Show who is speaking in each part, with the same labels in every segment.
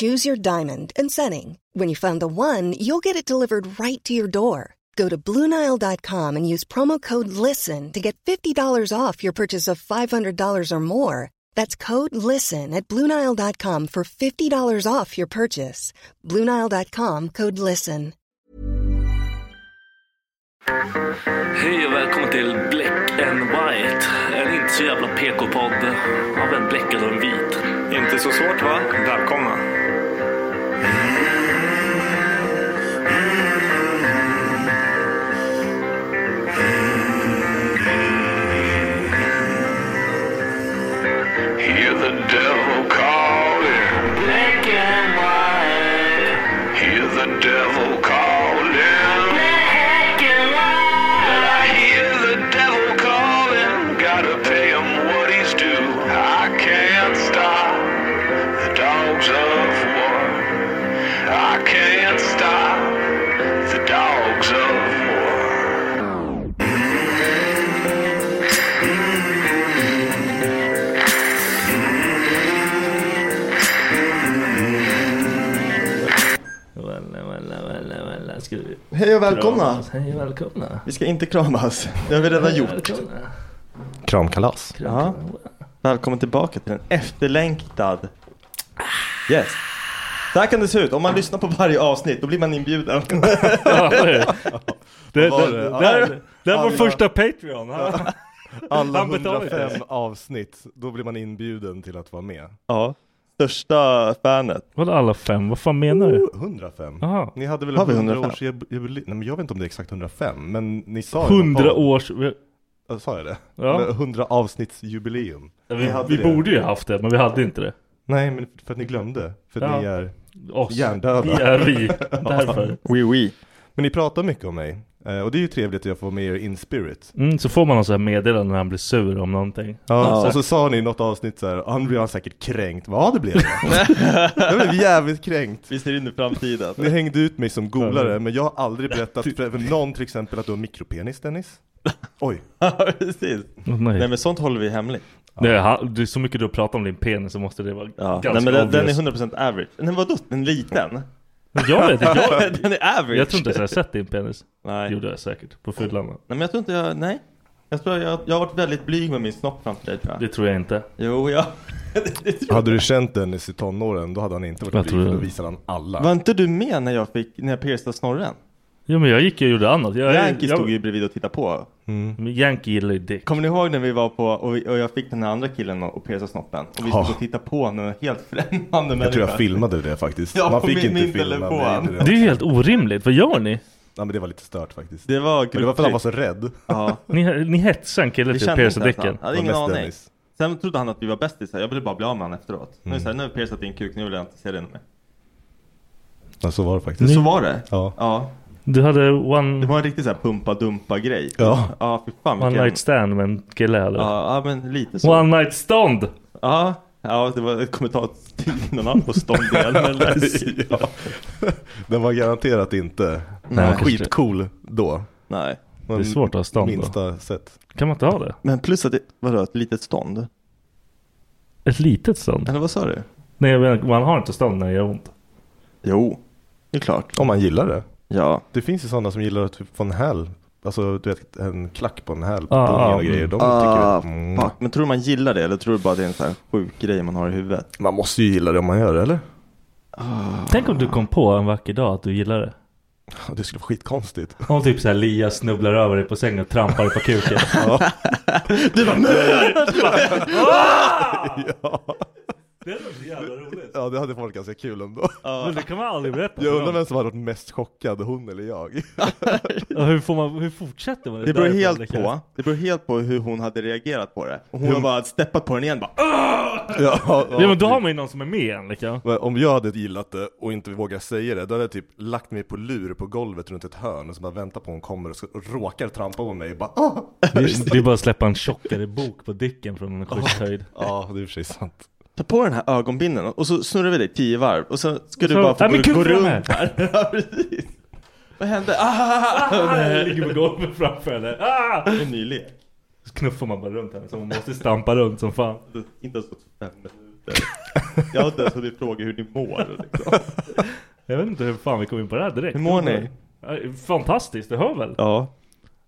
Speaker 1: Choose your diamond and setting. When you find the one, you'll get it delivered right to your door. Go to Bluenile.com and use promo code LISTEN to get $50 off your purchase of $500 or more. That's code LISTEN at Bluenile.com for $50 off your purchase. Bluenile.com code LISTEN.
Speaker 2: Hej och välkommen till Black and White. En inte så jävla PK-podd av en bläckad och en vit.
Speaker 3: Inte så svårt va? Välkomna.
Speaker 4: Hear the devil calling. Black and white. Hear the devil calling. Black and white. I hear the devil calling. Gotta pay him what he's due. I can't stop the dogs of war. I can't stop the dogs of war.
Speaker 2: Valla, valla, valla, valla. Ska vi
Speaker 5: Hej och välkomna.
Speaker 2: kramas? Hej och välkomna.
Speaker 5: Vi ska inte kramas. Det har vi redan
Speaker 2: Hej och
Speaker 5: gjort.
Speaker 2: välkomna.
Speaker 6: Kramkalas.
Speaker 5: Ja. Välkommen tillbaka till en efterlängtad gäst. Så här kan det se ut. Om man lyssnar på varje avsnitt, då blir man inbjuden.
Speaker 3: Ja, det, det,
Speaker 5: Vad var
Speaker 3: det,
Speaker 5: det?
Speaker 3: det, här- det här är vår
Speaker 5: Alla-
Speaker 3: första Patreon. Han,
Speaker 6: Alla
Speaker 3: Han betalar ju
Speaker 6: 105
Speaker 3: det.
Speaker 6: avsnitt, då blir man inbjuden till att vara med.
Speaker 5: Ja. Största fanet.
Speaker 3: Vadå alla fem? Vad fan menar du?
Speaker 6: 105.
Speaker 3: Jaha.
Speaker 6: Ni hade väl
Speaker 5: Har vi
Speaker 6: 100
Speaker 5: 105?
Speaker 6: års jubileum? Nej men jag vet inte om det är exakt 105, men ni sa ju-
Speaker 3: 100 års... Vi,
Speaker 6: Ja, Sa jag det?
Speaker 3: Ja.
Speaker 6: Men 100 avsnittsjubileum.
Speaker 3: vi,
Speaker 6: hade
Speaker 3: vi
Speaker 6: det.
Speaker 3: borde ju haft det, men vi hade inte det.
Speaker 6: Nej men för att ni glömde, för
Speaker 3: Ja.
Speaker 6: ni är
Speaker 3: Oss. Vi
Speaker 6: hjärndöda.
Speaker 3: är vi. Därför.
Speaker 5: Oui, oui.
Speaker 6: Men ni pratar mycket om mig. Eh, Och det är ju trevligt att jag får vara med er in spirit.
Speaker 3: Mm, så får man någon sån här meddelande när han blir sur om någonting.
Speaker 6: Ja, Och så "Ah, sa ni i något avsnitt såhär, han blev säkert kränkt. Ja det blev jag. jag blev jävligt kränkt.
Speaker 5: Vi ser in i framtiden.
Speaker 6: Ni hängde ut mig som golare, men jag har aldrig berättat för någon till exempel att du har mikropenis Dennis. Oj.
Speaker 5: Ja, precis.
Speaker 3: Åh, Mm, nej.
Speaker 5: Nej men sånt håller vi hemligt.
Speaker 3: Det, är, han- det är så mycket du har pratat om din penis så måste det vara
Speaker 5: Ja.
Speaker 3: ganska
Speaker 5: Nej men den, den är
Speaker 3: obvious.
Speaker 5: 100% average. Nej vadå? Den är liten?
Speaker 3: Jag vet inte. Jag,
Speaker 5: den är average.
Speaker 3: jag tror inte ens jag har sett din penis. Det
Speaker 5: Nej.
Speaker 3: gjorde jag säkert. På fyllan.
Speaker 5: Nej men jag tror inte jag, nej. Jag tror jag, jag har varit väldigt blyg med min snopp framför dig tror jag.
Speaker 3: Det tror jag inte.
Speaker 5: Jo, ja. Det- det tror jag.
Speaker 6: Hade du känt Dennis i tonåren, då hade han inte
Speaker 3: Jag
Speaker 6: varit
Speaker 3: tror
Speaker 6: blyg, för då
Speaker 3: det.
Speaker 6: visade han alla.
Speaker 5: Var inte du med när jag fick, när jag piercade snorren?
Speaker 3: Jo men jag gick och gjorde annat. Jag,
Speaker 5: Yankee
Speaker 3: jag,
Speaker 5: stod ju bredvid och tittade på.
Speaker 3: Men Yankee gillar ju dick.
Speaker 5: Kommer ni ihåg när vi var på, och, vi, och jag fick den här andra killen att- att pierca snoppen? Och vi
Speaker 6: Ja.
Speaker 5: stod och tittade på när en helt främmande
Speaker 6: Jag tror jag filmade det faktiskt.
Speaker 5: Ja,
Speaker 6: Man fick
Speaker 5: min-
Speaker 6: inte
Speaker 5: min
Speaker 6: filma. men jag
Speaker 5: telefon.
Speaker 6: gjorde
Speaker 3: Det är
Speaker 6: Det.
Speaker 3: ju helt orimligt. Vad gör ni?
Speaker 6: Ja, men det var lite stört faktiskt.
Speaker 5: Det var
Speaker 6: Men det var för att han var så rädd.
Speaker 5: Ja,
Speaker 3: Ni, ni hetsar en kille
Speaker 5: vi
Speaker 3: till att
Speaker 5: kände
Speaker 3: pierca
Speaker 5: inte ens
Speaker 3: dicken.
Speaker 5: han. Jag hade
Speaker 6: Det
Speaker 5: ingen
Speaker 6: var mest
Speaker 5: aning.
Speaker 6: Dennis.
Speaker 5: Sen trodde han att vi var bästisar, jag ville bara bli av med honom efteråt. Nu är det så här, nu har vi piercat din kuk, nu vill jag inte se den mer.
Speaker 6: Ja, så var det faktiskt.
Speaker 5: Så, så var det.
Speaker 6: Ja.
Speaker 5: ja.
Speaker 3: Du hade
Speaker 5: Det
Speaker 3: one,
Speaker 5: var en riktig så här pumpa-dumpa-grej.
Speaker 6: Ja.
Speaker 5: Ja, fy fan
Speaker 3: one
Speaker 5: vilken-
Speaker 3: night stand med en kille eller?
Speaker 5: Ja, ja, men lite så.
Speaker 3: One night stånd!
Speaker 5: Ja, ja det var ett kommentar till någon annan på stånd igen. eller-
Speaker 6: ja. Den var garanterat inte
Speaker 5: Nej.
Speaker 6: skitcool då.
Speaker 5: Nej.
Speaker 6: Det
Speaker 3: är svårt att ha stånd då.
Speaker 6: Minsta sätt.
Speaker 3: Kan man inte ha det?
Speaker 5: Men plus att det, vadå, ett litet stånd?
Speaker 3: Ett litet stånd?
Speaker 5: Eller vad sa du?
Speaker 3: Nej jag menar, man har inte stånd när det gör ont.
Speaker 5: Jo. Det är klart.
Speaker 6: Om man gillar det.
Speaker 5: Ja.
Speaker 6: Det finns ju sådana som gillar typ von häl. Alltså du vet en klack på en häl på
Speaker 3: Ah,
Speaker 6: pungen
Speaker 3: ah,
Speaker 6: och grejer. De
Speaker 5: Ah,
Speaker 6: tycker mm,
Speaker 5: fuck. Men tror du man gillar det eller tror du bara att det är en sån här sjuk grej man har i huvudet?
Speaker 6: Man måste ju gilla det om man gör det eller?
Speaker 3: Tänk om du kom på en vacker dag att du gillar det.
Speaker 6: Ja, Det skulle vara skitkonstigt.
Speaker 3: Om typ såhär Lia snubblar över dig på sängen och trampar dig på kuken. ja.
Speaker 6: Du bara nej!
Speaker 3: Det är så jävla roligt.
Speaker 6: Ja det hade folk ganska kul om då.
Speaker 3: Men det kan man aldrig berätta
Speaker 6: Jag
Speaker 3: för
Speaker 6: undrar
Speaker 3: någon.
Speaker 6: vem som hade varit mest chockad, hon eller jag.
Speaker 3: Ja, Hur, får man, hur fortsätter man?
Speaker 5: Det beror
Speaker 3: därifrån,
Speaker 5: helt
Speaker 3: liksom?
Speaker 5: på. Det beror helt på hur hon hade reagerat på det. Och hon har bara steppat på den igen bara. "Ah!"
Speaker 6: Ja,
Speaker 3: Ja men då har man ju någon som är med en liksom.
Speaker 6: Men om jag hade gillat det och inte vågat säga det, då hade jag typ lagt mig på lur på golvet runt ett hörn och så bara väntar på att hon kommer och, så, och råkar trampa på mig och bara ah!
Speaker 3: Det är, det är bara att släppa en tjockare bok på dicken från en schysst höjd.
Speaker 6: Ja, det är i och för sig sant.
Speaker 5: Ta på den här ögonbindeln och så snurrar vi dig tio varv och sen ska du
Speaker 3: Så-
Speaker 5: bara få
Speaker 3: Nej, men
Speaker 5: gå,
Speaker 3: kul
Speaker 5: gå
Speaker 3: för de
Speaker 5: runt
Speaker 3: här.
Speaker 5: här. ja, precis. Vad hände? Ah!
Speaker 3: Jag ligger på golvet framför henne. Ah!
Speaker 5: En ny lek.
Speaker 3: Så knuffar man bara runt henne så man måste stampa runt som fan.
Speaker 5: Inte ens fått fem minuter. Jag har inte ens hunnit fråga hur ni mår. Liksom.
Speaker 3: Jag vet inte hur fan vi kom in på det här direkt.
Speaker 5: Hur mår ni?
Speaker 3: Ja, Fantastiskt, du hör väl?
Speaker 5: Ja.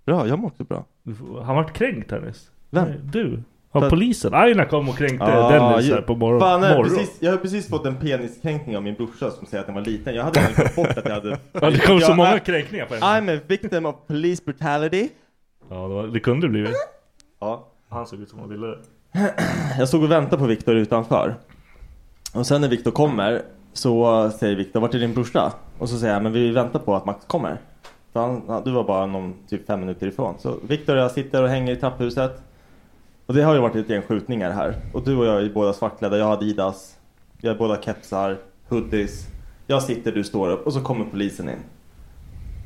Speaker 5: Bra, jag mår också bra.
Speaker 3: Du får- Han vart kränkt här nyss.
Speaker 5: Vem?
Speaker 3: Nej, Du. Av
Speaker 5: För-
Speaker 3: polisen. Aina kom och kränkte Dennis
Speaker 5: ju-
Speaker 3: här på morgon.
Speaker 5: Fan, jag, har
Speaker 3: morgon.
Speaker 5: precis, jag har precis fått en peniskränkning av min brorsa som säger att den var liten. Jag hade inte fått att jag hade...
Speaker 3: Ja, det kom så
Speaker 5: Jag-
Speaker 3: många
Speaker 5: I-
Speaker 3: kränkningar på henne.
Speaker 5: I'm a victim of police brutality.
Speaker 3: Ja, det, var, det kunde det
Speaker 5: Mm.
Speaker 3: blivit.
Speaker 5: Ja.
Speaker 3: Han såg ut som han ville det.
Speaker 5: Jag stod och väntade på Viktor utanför. Och sen när Viktor kommer så säger Viktor, vart är din brorsa? Och så säger jag, men vi väntar på att Max kommer. Så han, han- du var bara någon, typ fem minuter ifrån. Så Viktor och jag sitter och hänger i trapphuset. Och det har ju varit lite grann skjutningar här. Och du och jag är ju båda svartklädda, jag har Adidas. Vi har båda kepsar, hoodies. Jag sitter, du står upp och så kommer polisen in.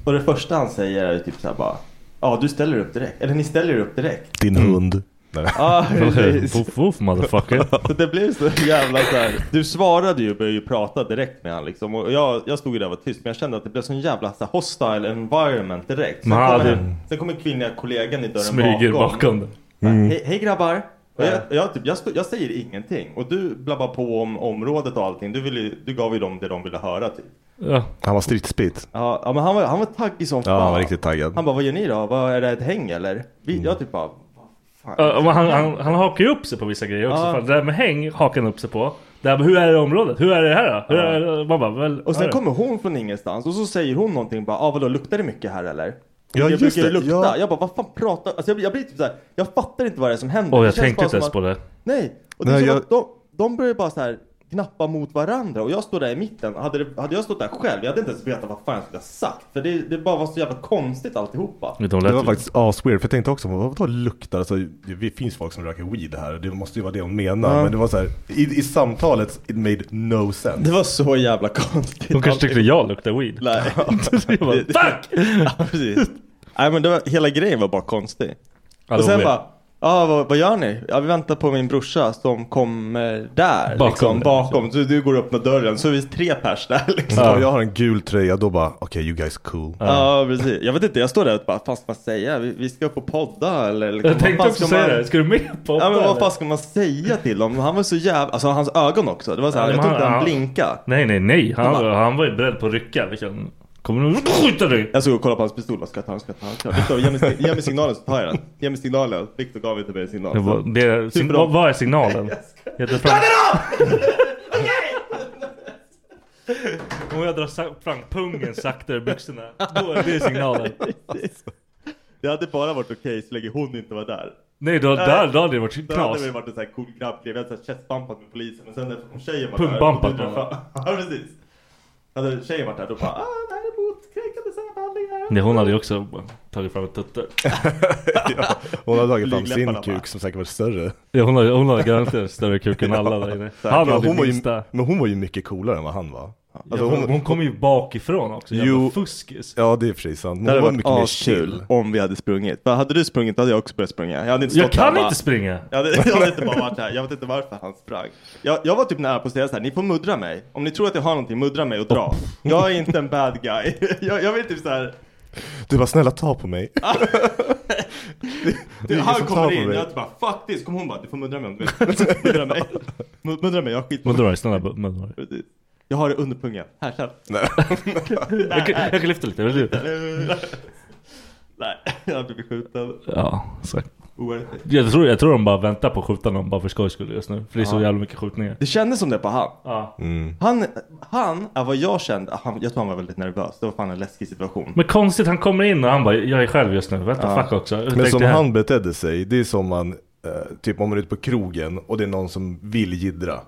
Speaker 5: Och det första han säger är ju typ såhär bara, ja du ställer upp direkt. Eller ni ställer er upp direkt.
Speaker 6: Din hund. Nej.
Speaker 5: Ja, precis.
Speaker 3: Woof woof motherfucker.
Speaker 5: Så det blev så jävla så här. Du svarade ju och började ju prata direkt med han liksom. Och jag, jag stod ju där och var tyst. Men jag kände att det blev sån jävla så här, hostile environment direkt. Sen
Speaker 3: Men han
Speaker 5: kommer,
Speaker 3: hade-
Speaker 5: sen kommer kvinnliga kollegan i dörren
Speaker 3: Smyger
Speaker 5: bakom.
Speaker 3: bakom det.
Speaker 5: Så
Speaker 6: Mm.
Speaker 5: här, Hej, hej grabbar. Och jag, jag, typ, jag, stod, jag säger ingenting. Och du blabbar på om området och allting. Du, ville, ju- du gav ju dem det de ville höra typ.
Speaker 3: Ja.
Speaker 6: Han var stridsbit.
Speaker 5: Ja, ja men han var, han var taggig som
Speaker 6: Ja, han var riktigt taggad. Mm.
Speaker 5: Han bara, vad gör ni då? Vad, är det ett häng eller? Vi, Jag typ bara, vad fan.
Speaker 3: Ja, men han, han, han hakar ju upp sig på vissa grejer också.
Speaker 5: Ja.
Speaker 3: Fan, det där med häng hakar han upp sig på. Det här med hur är det i området? Hur är det här då? Hur
Speaker 5: Ja.
Speaker 3: är det? Man bara, väl,
Speaker 5: Och
Speaker 3: är
Speaker 5: sen
Speaker 3: det?
Speaker 5: kommer hon från ingenstans och så säger hon någonting bara ah, vadå luktar det mycket här eller?
Speaker 6: Ja,
Speaker 5: jag
Speaker 6: just
Speaker 5: brukar ju
Speaker 6: det.
Speaker 5: lukta.
Speaker 6: Ja.
Speaker 5: Jag bara vad fan pratar alltså, jag, blir- jag blir typ såhär, jag fattar inte vad det är som händer.
Speaker 3: Åh
Speaker 5: Det
Speaker 3: jag
Speaker 5: känns
Speaker 3: tänkte
Speaker 5: bara
Speaker 3: inte
Speaker 5: som
Speaker 3: ens
Speaker 5: att-
Speaker 3: på det.
Speaker 5: Nej, och det är
Speaker 6: Nej,
Speaker 5: som
Speaker 6: jag-
Speaker 5: att de, de börjar bara så här knappa mot varandra och jag står där i mitten. Hade, det, hade jag stått där själv, jag hade inte ens vetat vad fan jag skulle ha sagt. För det, det bara var så jävla konstigt alltihopa.
Speaker 3: Vet du, hon
Speaker 6: Det
Speaker 3: lät
Speaker 6: var
Speaker 3: ju-
Speaker 6: faktiskt asweird, för jag tänkte också, vad- vadå luktar? Alltså, det det finns folk som röker weed här, det måste ju vara det hon menar.
Speaker 5: Ja.
Speaker 6: Men det var så här, i, i samtalet, it made no sense.
Speaker 5: Det var så jävla konstigt.
Speaker 3: Hon kanske tyckte jag luktar weed.
Speaker 5: Nej.
Speaker 3: Jag bara, Fuck!
Speaker 5: ja, precis. Nej men det var, hela grejen var bara konstig.
Speaker 3: Ja, det var
Speaker 5: Och sen
Speaker 3: weird.
Speaker 5: bara, ja vad, vad gör ni? Ja vi väntar på min brorsa som kommer där.
Speaker 3: Bakom
Speaker 5: Bakom. Liksom,
Speaker 3: dig,
Speaker 5: bakom. Så du går upp med dörren så är vi tre pers där liksom.
Speaker 6: Ja.
Speaker 5: Ja.
Speaker 6: Och jag har en gul tröja, då bara, okej you guys cool.
Speaker 5: precis. Jag vet inte, jag står där och bara, fan ska man säga? Vi, vi ska upp och podda eller? Liksom,
Speaker 3: Jag tänkte
Speaker 5: vad fan
Speaker 3: också
Speaker 5: ska
Speaker 3: säga
Speaker 5: man-
Speaker 3: det. Ska du med på
Speaker 5: Ja men vad
Speaker 3: eller?
Speaker 5: fan ska man säga till honom? Han var så jävla, alltså hans ögon också. Det var så här,
Speaker 3: Ja,
Speaker 5: jag
Speaker 3: men
Speaker 5: tror inte
Speaker 3: han-
Speaker 5: han
Speaker 3: han-
Speaker 5: blinka.
Speaker 3: Nej nej nej. Han,
Speaker 5: De bara-
Speaker 3: han var ju beredd på att rycka. Liksom. Kommer du skjuta dig?
Speaker 5: Jag såg och kollade på hans pistol, bara, ska jag ta den, ska jag ta den? Ska jag ta den? Viktor, ge mig sig- ge mig signalen så tar jag den. Ge mig signalen. Viktor gav inte mig en signal.
Speaker 3: Det var, det, sin,
Speaker 5: bra.
Speaker 3: vad, vad är signalen? Heter fram... Om jag drar sa- fram pungen sakta ur byxorna, då är det signalen.
Speaker 5: Det hade bara varit okej så länge hon inte var där.
Speaker 3: Nej, då, där, då hade det varit
Speaker 5: Då hade
Speaker 3: knas.
Speaker 5: det varit en sån här cool grabbgrej. Vi hade så här chestbumpat med polisen. Men sen när om tjejen var
Speaker 3: Pungbumpad
Speaker 5: där.
Speaker 3: med honom.
Speaker 5: Pungbumpad Ja precis. Hade tjejen varit där då bara ah det här är motkränkande särbehandlingar.
Speaker 3: Nej, hon hade ju också tagit fram ett tutte.
Speaker 6: Hon har tagit fram sin
Speaker 5: Blygdläpparna bara.
Speaker 6: kuk som säkert var större.
Speaker 3: Ja, hon hade, hon hade garanterat större kuk än alla där inne. Han
Speaker 6: Men
Speaker 3: hade
Speaker 6: hon var ju,
Speaker 3: minsta.
Speaker 6: men hon var ju mycket coolare än vad han var. Alltså,
Speaker 3: Ja, hon, hon kom ju bakifrån också. Jävla
Speaker 6: Jo.
Speaker 3: fuskis.
Speaker 6: Ja det är precis sant. Hon
Speaker 5: Det hade
Speaker 6: var
Speaker 5: varit
Speaker 6: mycket mer chill.
Speaker 5: askul om vi hade sprungit. För hade du sprungit hade jag också börjat springa. Jag hade inte
Speaker 3: Jag
Speaker 5: stått där och
Speaker 3: kan
Speaker 5: bara-
Speaker 3: inte springa.
Speaker 5: Jag hade, jag hade inte bara varit här. Jag vet inte varför han sprang. Jag, jag var typ nära på att säga så här, ni får muddra mig. Om ni tror att jag har någonting, muddra mig och dra. Jag är inte en bad guy. Jag, jag vill typ så här.
Speaker 6: Du bara snälla ta på mig.
Speaker 5: Du,
Speaker 6: ingen
Speaker 5: han
Speaker 6: som tar
Speaker 5: kommer
Speaker 6: på
Speaker 5: in,
Speaker 6: mig.
Speaker 5: jag typ bara fuck this, kommer hon bara du får muddra mig om du vill. Muddra mig. Mud- Muddra mig, jag skiter
Speaker 3: Muddra dig, snälla muddra dig.
Speaker 5: Precis. Jag har det under pungen. Här, kör.
Speaker 6: Nej.
Speaker 3: Jag kan, jag kan lyfta lite, vill du?
Speaker 5: Nej, jag har blivit skjuten.
Speaker 3: Ja, exakt.
Speaker 5: Oerhört.
Speaker 3: Jag tror, jag tror de bara väntar på att skjuta någon bara för skojs skull just nu. För det är så
Speaker 5: Ja.
Speaker 3: jävla mycket skjutningar.
Speaker 5: Det kändes som det på han.
Speaker 3: Ja.
Speaker 6: Mm.
Speaker 5: Han, han är vad jag kände. Han, jag tror han var väldigt nervös. Det var fan en läskig situation.
Speaker 3: Men konstigt, han kommer in och han bara jag är själv just nu. Vänta, fuck också. Jag
Speaker 6: Men
Speaker 3: tänkte
Speaker 6: som
Speaker 3: här-
Speaker 6: han betedde sig, det är som man, eh, typ om man är ute på krogen och det är någon som vill jiddra.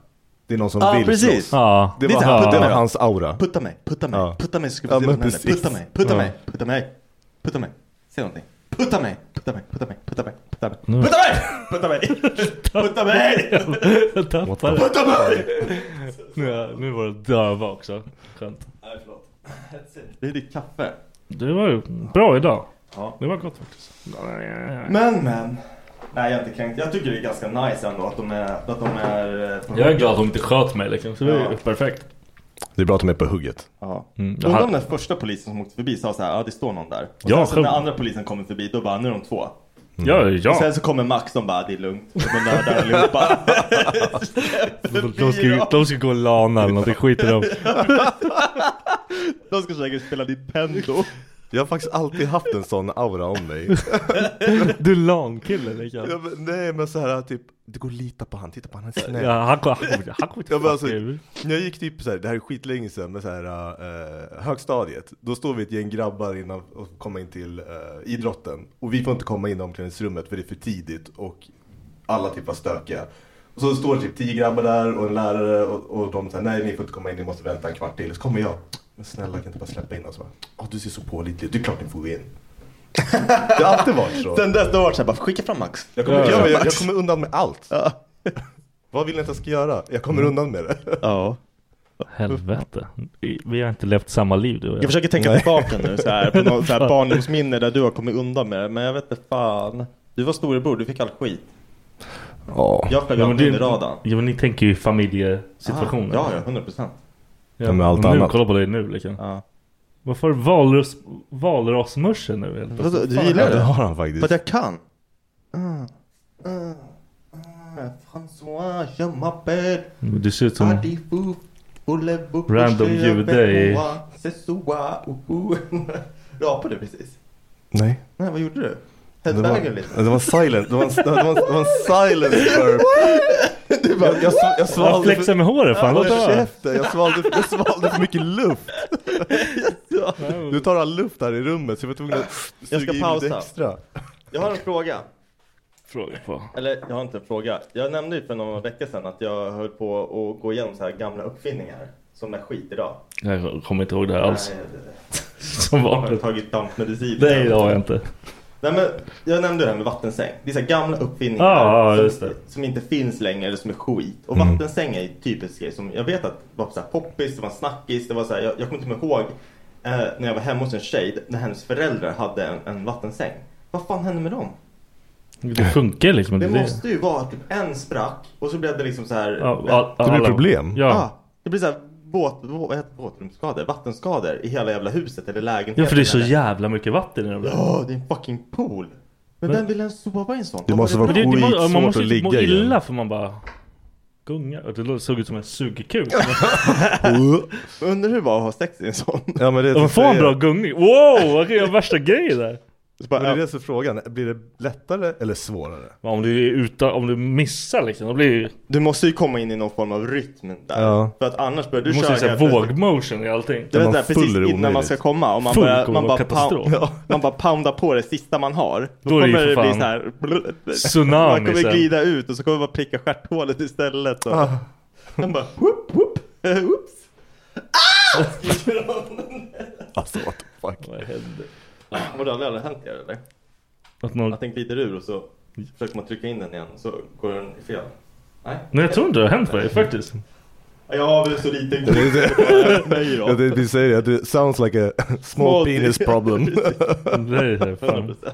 Speaker 6: Det är någon som
Speaker 5: Ja,
Speaker 6: vill
Speaker 5: precis.
Speaker 6: slåss.
Speaker 3: Ja.
Speaker 6: Det
Speaker 5: Det är
Speaker 6: var,
Speaker 5: så här,
Speaker 6: han, det
Speaker 5: putta
Speaker 6: var
Speaker 5: mig.
Speaker 6: hans aura.
Speaker 5: Putta mig, putta mig,
Speaker 6: Ja.
Speaker 5: putta mig så ska vi
Speaker 6: Ja,
Speaker 5: se
Speaker 6: men
Speaker 5: vad som händer.
Speaker 6: precis.
Speaker 5: Putta mig, putta
Speaker 3: Ja.
Speaker 5: mig, putta mig, putta mig. Säg någonting. Putta mig, putta mig, putta mig, putta mig, putta mig.
Speaker 3: Nu.
Speaker 5: Putta mig! Putta mig! Putta mig!
Speaker 3: Jag tappade det.
Speaker 5: Putta mig!
Speaker 3: Nu, nu var det döva också. Skönt.
Speaker 5: Nej, förlåt. Det är ditt kaffe.
Speaker 3: Det var ju bra idag.
Speaker 5: Ja.
Speaker 3: Det var gott faktiskt.
Speaker 5: Men, men. Nej, jag är inte kränkt. Jag tycker det är ganska nice ändå att de är... Att de är eh, på-
Speaker 3: Jag är glad att de inte sköt mig liksom. Så det är ju
Speaker 5: Ja.
Speaker 3: perfekt.
Speaker 6: Det är bra att de är på hugget.
Speaker 5: Ja.
Speaker 3: Mm, jag
Speaker 5: Undrar om
Speaker 3: har-
Speaker 5: den första polisen som åkte förbi sa så här, ja det står någon där. Och
Speaker 3: Ja,
Speaker 5: sen så
Speaker 3: själv-
Speaker 5: när andra polisen kommer förbi, då bara, nu är de två.
Speaker 3: Ja,
Speaker 5: Och
Speaker 3: ja.
Speaker 5: sen så kommer Max som bara, det är lugnt. Och de mördar allihopa.
Speaker 3: De, de, ska, de ska gå och lana eller någonting. Skit i dem.
Speaker 5: De ska säkert spela Nintendo.
Speaker 6: Jag har faktiskt alltid haft en sån aura om mig.
Speaker 3: Du lankille liksom.
Speaker 6: Ja, men, nej men så här typ, det går att lita på han, titta på han, han är snäll.
Speaker 3: Ja, han kommer han kommer- han kommer inte
Speaker 6: Jag bara, alltså,
Speaker 3: fucka ur.
Speaker 6: när jag gick typ så här, det här är skitlänge sedan, men så här, eh, högstadiet. Då står vi ett gäng grabbar innan och kommer in till eh, idrotten. Och vi får inte komma in i omklädningsrummet för det är för tidigt och alla typ var stökiga. Och så står det typ tio grabbar där och en lärare och, och de säger nej ni får inte komma in, ni måste vänta en kvart till. Så kommer jag. Men snälla kan jag inte bara släppa in oss? Åh du ser så pålitlig ut, det är klart ni får gå in. Det har alltid varit så.
Speaker 5: Sen dess, då har det såhär, bara skicka fram Max.
Speaker 6: Jag kommer,
Speaker 3: Ja,
Speaker 6: jag, jag, jag
Speaker 5: Max.
Speaker 6: kommer undan med allt. Vad vill ni att jag ska göra? Jag kommer undan med det.
Speaker 5: Ja.
Speaker 3: Helvete. Vi- Vi har inte levt samma liv du och
Speaker 5: Jag
Speaker 3: jag.
Speaker 5: försöker tänka tillbaka nu så här, på något så här barndomsminne där du har kommit undan med det. Men jag vet inte fan. Du var storebror, du fick all skit.
Speaker 6: Ja.
Speaker 5: Jag flög
Speaker 3: Ja, men
Speaker 5: alltid
Speaker 3: det-
Speaker 5: under radarn.
Speaker 3: Ja, men ni tänker ju
Speaker 5: Ah,
Speaker 3: familjesituationer.
Speaker 5: Ja, ja, 100 procent.
Speaker 6: Ja, men allt
Speaker 3: nu,
Speaker 6: annat.
Speaker 3: Kolla på dig nu liksom.
Speaker 5: Ja.
Speaker 3: Varför valros, valrosmörsor nu helt plötsligt?
Speaker 5: Du gillar
Speaker 6: Ja, det
Speaker 5: det?
Speaker 6: har han
Speaker 5: För att
Speaker 6: faktiskt.
Speaker 5: jag kan. Mm. Mm. François, je m'appelle
Speaker 3: Du ser ut som...
Speaker 5: Adifou. Voulez-vous coucher
Speaker 3: Random jude
Speaker 5: avec
Speaker 3: i-
Speaker 5: moi? C'est soir, oh, oh. Rapade du precis?
Speaker 6: Nej.
Speaker 5: Nej, vad gjorde du?
Speaker 6: Det
Speaker 5: Headbangade lite?
Speaker 6: var, det var silent. Det var en, det var en, det var en silent burp. Det var, jag, sv- jag
Speaker 3: Jag
Speaker 6: svalde
Speaker 3: flexar
Speaker 6: för,
Speaker 3: med håret fan, låt
Speaker 6: Håll
Speaker 3: höra!
Speaker 6: käften. jag, svalde, jag svalde för mycket luft. Du tar all luft här i rummet så jag var tvungen att
Speaker 5: Jag ska
Speaker 6: suga in
Speaker 5: pausa.
Speaker 6: lite extra.
Speaker 5: Jag har en fråga.
Speaker 3: Fråga på.
Speaker 5: Eller jag har inte en fråga. Jag nämnde ju för några veckor sedan att jag höll på att gå igenom så här gamla uppfinningar. Som är skit idag.
Speaker 3: Jag kommer inte ihåg det här alls.
Speaker 5: Nej, det-
Speaker 3: Som
Speaker 5: Har du
Speaker 3: vanligt.
Speaker 5: tagit dampmedicin?
Speaker 3: Nej det har jag inte.
Speaker 5: Nej men jag nämnde det här med vattensäng. Det är så här gamla uppfinningar
Speaker 3: Ja, ja,
Speaker 5: som,
Speaker 3: just det.
Speaker 5: som inte finns längre eller som är skit. Och
Speaker 3: Mm.
Speaker 5: vattensäng är ju typiskt grej som jag vet att det var så här poppis, det var snackis, det var så här, jag, jag kommer inte ihåg eh, när jag var hemma hos en tjej när hennes föräldrar hade en, en vattensäng. Vad fan hände med dem?
Speaker 3: Det funkar liksom
Speaker 5: Det
Speaker 3: inte. Det-
Speaker 5: måste ju vara att typ en sprack och så blev det liksom så här.
Speaker 3: Ja, all-
Speaker 6: Det blir
Speaker 3: alla-
Speaker 6: problem.
Speaker 3: Ja.
Speaker 5: Ah, det blir så här båt, båt, vad heter det? båtrumsskador, vattenskador i hela jävla huset eller lägenheten.
Speaker 3: Ja för det är så
Speaker 5: eller-
Speaker 3: jävla mycket vatten i den där.
Speaker 5: Ja, det är en fucking pool. Men, vem vill ens sova i en sån?
Speaker 6: Det måste
Speaker 5: Vad var
Speaker 6: vara
Speaker 5: det
Speaker 3: Det, det,
Speaker 6: Skitsvårt
Speaker 3: må, man måste
Speaker 6: att
Speaker 3: ju typ må
Speaker 6: ligga i den.
Speaker 3: illa för man bara gungar. Det lå- såg ut som en sugkuk.
Speaker 5: Undrar hur det var att ha sex i en sån?
Speaker 6: Ja, men det är
Speaker 3: Om man
Speaker 6: så
Speaker 3: får en
Speaker 6: säger-
Speaker 3: bra gungning. Wow! Vad kan jag göra värsta grejer där?
Speaker 5: Så
Speaker 6: Men det
Speaker 5: bara,
Speaker 6: är det som är frågan. Blir det lättare eller svårare?
Speaker 3: Ja, Om du, är utan, om du missar liksom. Då blir det ju-
Speaker 5: Du måste ju komma in i någon form av rytm där.
Speaker 6: Ja.
Speaker 5: För att annars börjar du,
Speaker 3: Du måste ju
Speaker 5: köra
Speaker 3: säga
Speaker 5: helt plötsligt.
Speaker 3: våg motion i allting.
Speaker 6: Ja,
Speaker 5: Du vet
Speaker 6: man
Speaker 5: där, precis
Speaker 6: full är
Speaker 5: innan man
Speaker 6: omöjligt.
Speaker 5: ska komma och man
Speaker 3: Full
Speaker 5: börjar,
Speaker 3: kommer
Speaker 5: man, bara
Speaker 3: vara
Speaker 5: pound,
Speaker 3: katastrof.
Speaker 5: ja, man bara poundar på det sista man har. Då,
Speaker 3: Då är det ju
Speaker 5: kommer
Speaker 3: för
Speaker 5: det, bli
Speaker 3: fan
Speaker 5: så här,
Speaker 3: tsunami
Speaker 5: Man kommer
Speaker 3: sen. Ah.
Speaker 5: glida ut och så kommer man pricka stjärthålet istället. Och, Man bara whoop whoop, eh, Ah! whoops.
Speaker 6: Alltså what the fuck.
Speaker 3: Vad händer?
Speaker 5: Har det aldrig aldrig hänt er eller?
Speaker 3: Att någon...
Speaker 5: Att den glider ur och så försöker man trycka in den igen och så går den i fel. Nej,
Speaker 3: Nej jag tror inte det har hänt mig faktiskt.
Speaker 5: jag har väl så liten
Speaker 6: Det är det-
Speaker 5: mig
Speaker 6: Ja,
Speaker 5: då.
Speaker 6: det, vi säger det, att det sounds like a small penis problem.
Speaker 3: Det är fan
Speaker 5: 100%.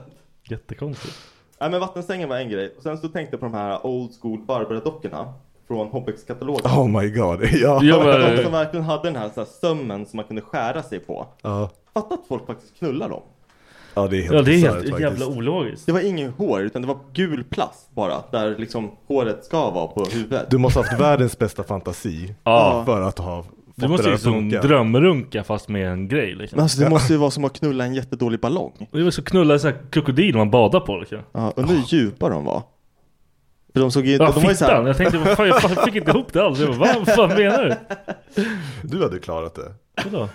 Speaker 3: jättekonstigt.
Speaker 5: Nej men vattensängen var en grej. Och sen så tänkte jag på de här old school Barbara-dockorna från Hobbex-katalogen.
Speaker 6: Oh my god, ja.
Speaker 3: Ja,
Speaker 5: De
Speaker 3: men,
Speaker 5: som verkligen hade den här, så här sömmen som man kunde skära sig på.
Speaker 6: Ja,
Speaker 5: Fatta att folk faktiskt knullar dem.
Speaker 6: ja det är helt
Speaker 3: ja det är
Speaker 6: bisarrt
Speaker 3: helt
Speaker 6: faktiskt.
Speaker 3: jävla ologiskt.
Speaker 5: Det var inget hår utan det var gul plast bara. Där liksom håret ska vara på huvudet.
Speaker 6: Du måste ha haft världens bästa fantasi
Speaker 3: Ja.
Speaker 6: för att ha
Speaker 3: Du måste ju
Speaker 6: där att
Speaker 3: liksom
Speaker 6: funka.
Speaker 3: drömrunka fast med en grej liksom.
Speaker 5: Men alltså det måste ju vara som att knulla en jättedålig ballong.
Speaker 3: Det var så knulla en sån här krokodil man badar på liksom.
Speaker 5: Ja, undrar hur djupa de var. För de såg ju inte...
Speaker 3: Ja,
Speaker 5: de var ju så
Speaker 3: fittan!
Speaker 5: här,
Speaker 3: Jag tänkte, vad fan, jag fan fick inte ihop det alls. Jag bara, vad fan menar du?
Speaker 6: Du hade klarat det.
Speaker 3: Vadå?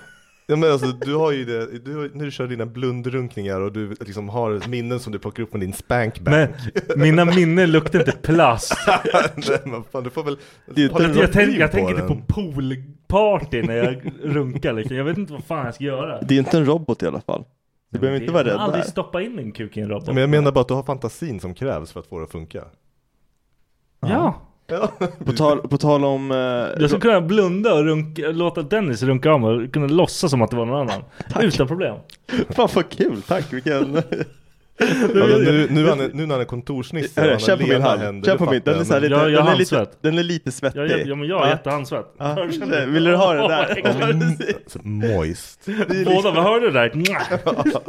Speaker 6: Ja, men alltså, du har ju det, du, har- när du kör dina blundrunkningar och du liksom har minnen som du plockar upp med din spankbank.
Speaker 3: Men mina minnen luktar inte plast.
Speaker 6: Nej, men fan, du får väl...
Speaker 5: Det-
Speaker 6: har du
Speaker 3: Jag,
Speaker 6: något
Speaker 3: jag, tänk,
Speaker 6: liv
Speaker 3: jag tänker
Speaker 6: den?
Speaker 3: typ på poolparty när jag runkar liksom. Jag vet inte vad fan jag ska göra.
Speaker 5: det är inte en robot i alla fall. Du behöver inte vara
Speaker 3: Jag har
Speaker 5: rädd
Speaker 3: aldrig
Speaker 5: där.
Speaker 3: stoppa in en kuk i en robot.
Speaker 6: Men jag menar bara att du har fantasin som krävs för att få det att funka.
Speaker 3: Ja.
Speaker 6: Ja.
Speaker 5: På tal, på tal om... eh,
Speaker 3: Jag skulle kunna blunda och runka, låta Dennis runka om och kunna låtsas som att det var någon annan. Utan problem.
Speaker 5: Fan vad kul, tack vilken...
Speaker 6: Alltså, nu, nu, han är, nu när han är kontorsnisse och
Speaker 5: Hörru,
Speaker 6: han har
Speaker 5: Känn på min
Speaker 6: lena
Speaker 5: hand,
Speaker 6: händer.
Speaker 5: känn
Speaker 6: du
Speaker 5: på min. Den är, så här
Speaker 6: fattar.
Speaker 5: lite,
Speaker 3: Jag- jag
Speaker 5: den,
Speaker 3: har
Speaker 5: är lite,
Speaker 3: handsvett.
Speaker 5: den är lite svettig.
Speaker 3: Jag, jag, ja, men jag har jättehandsvett.
Speaker 5: Ja, Vill du ha det där?
Speaker 3: Ja, exakt.
Speaker 6: Så Mm. Moist.
Speaker 3: Båda, vad hörde du där? Nja.
Speaker 5: Och liksom-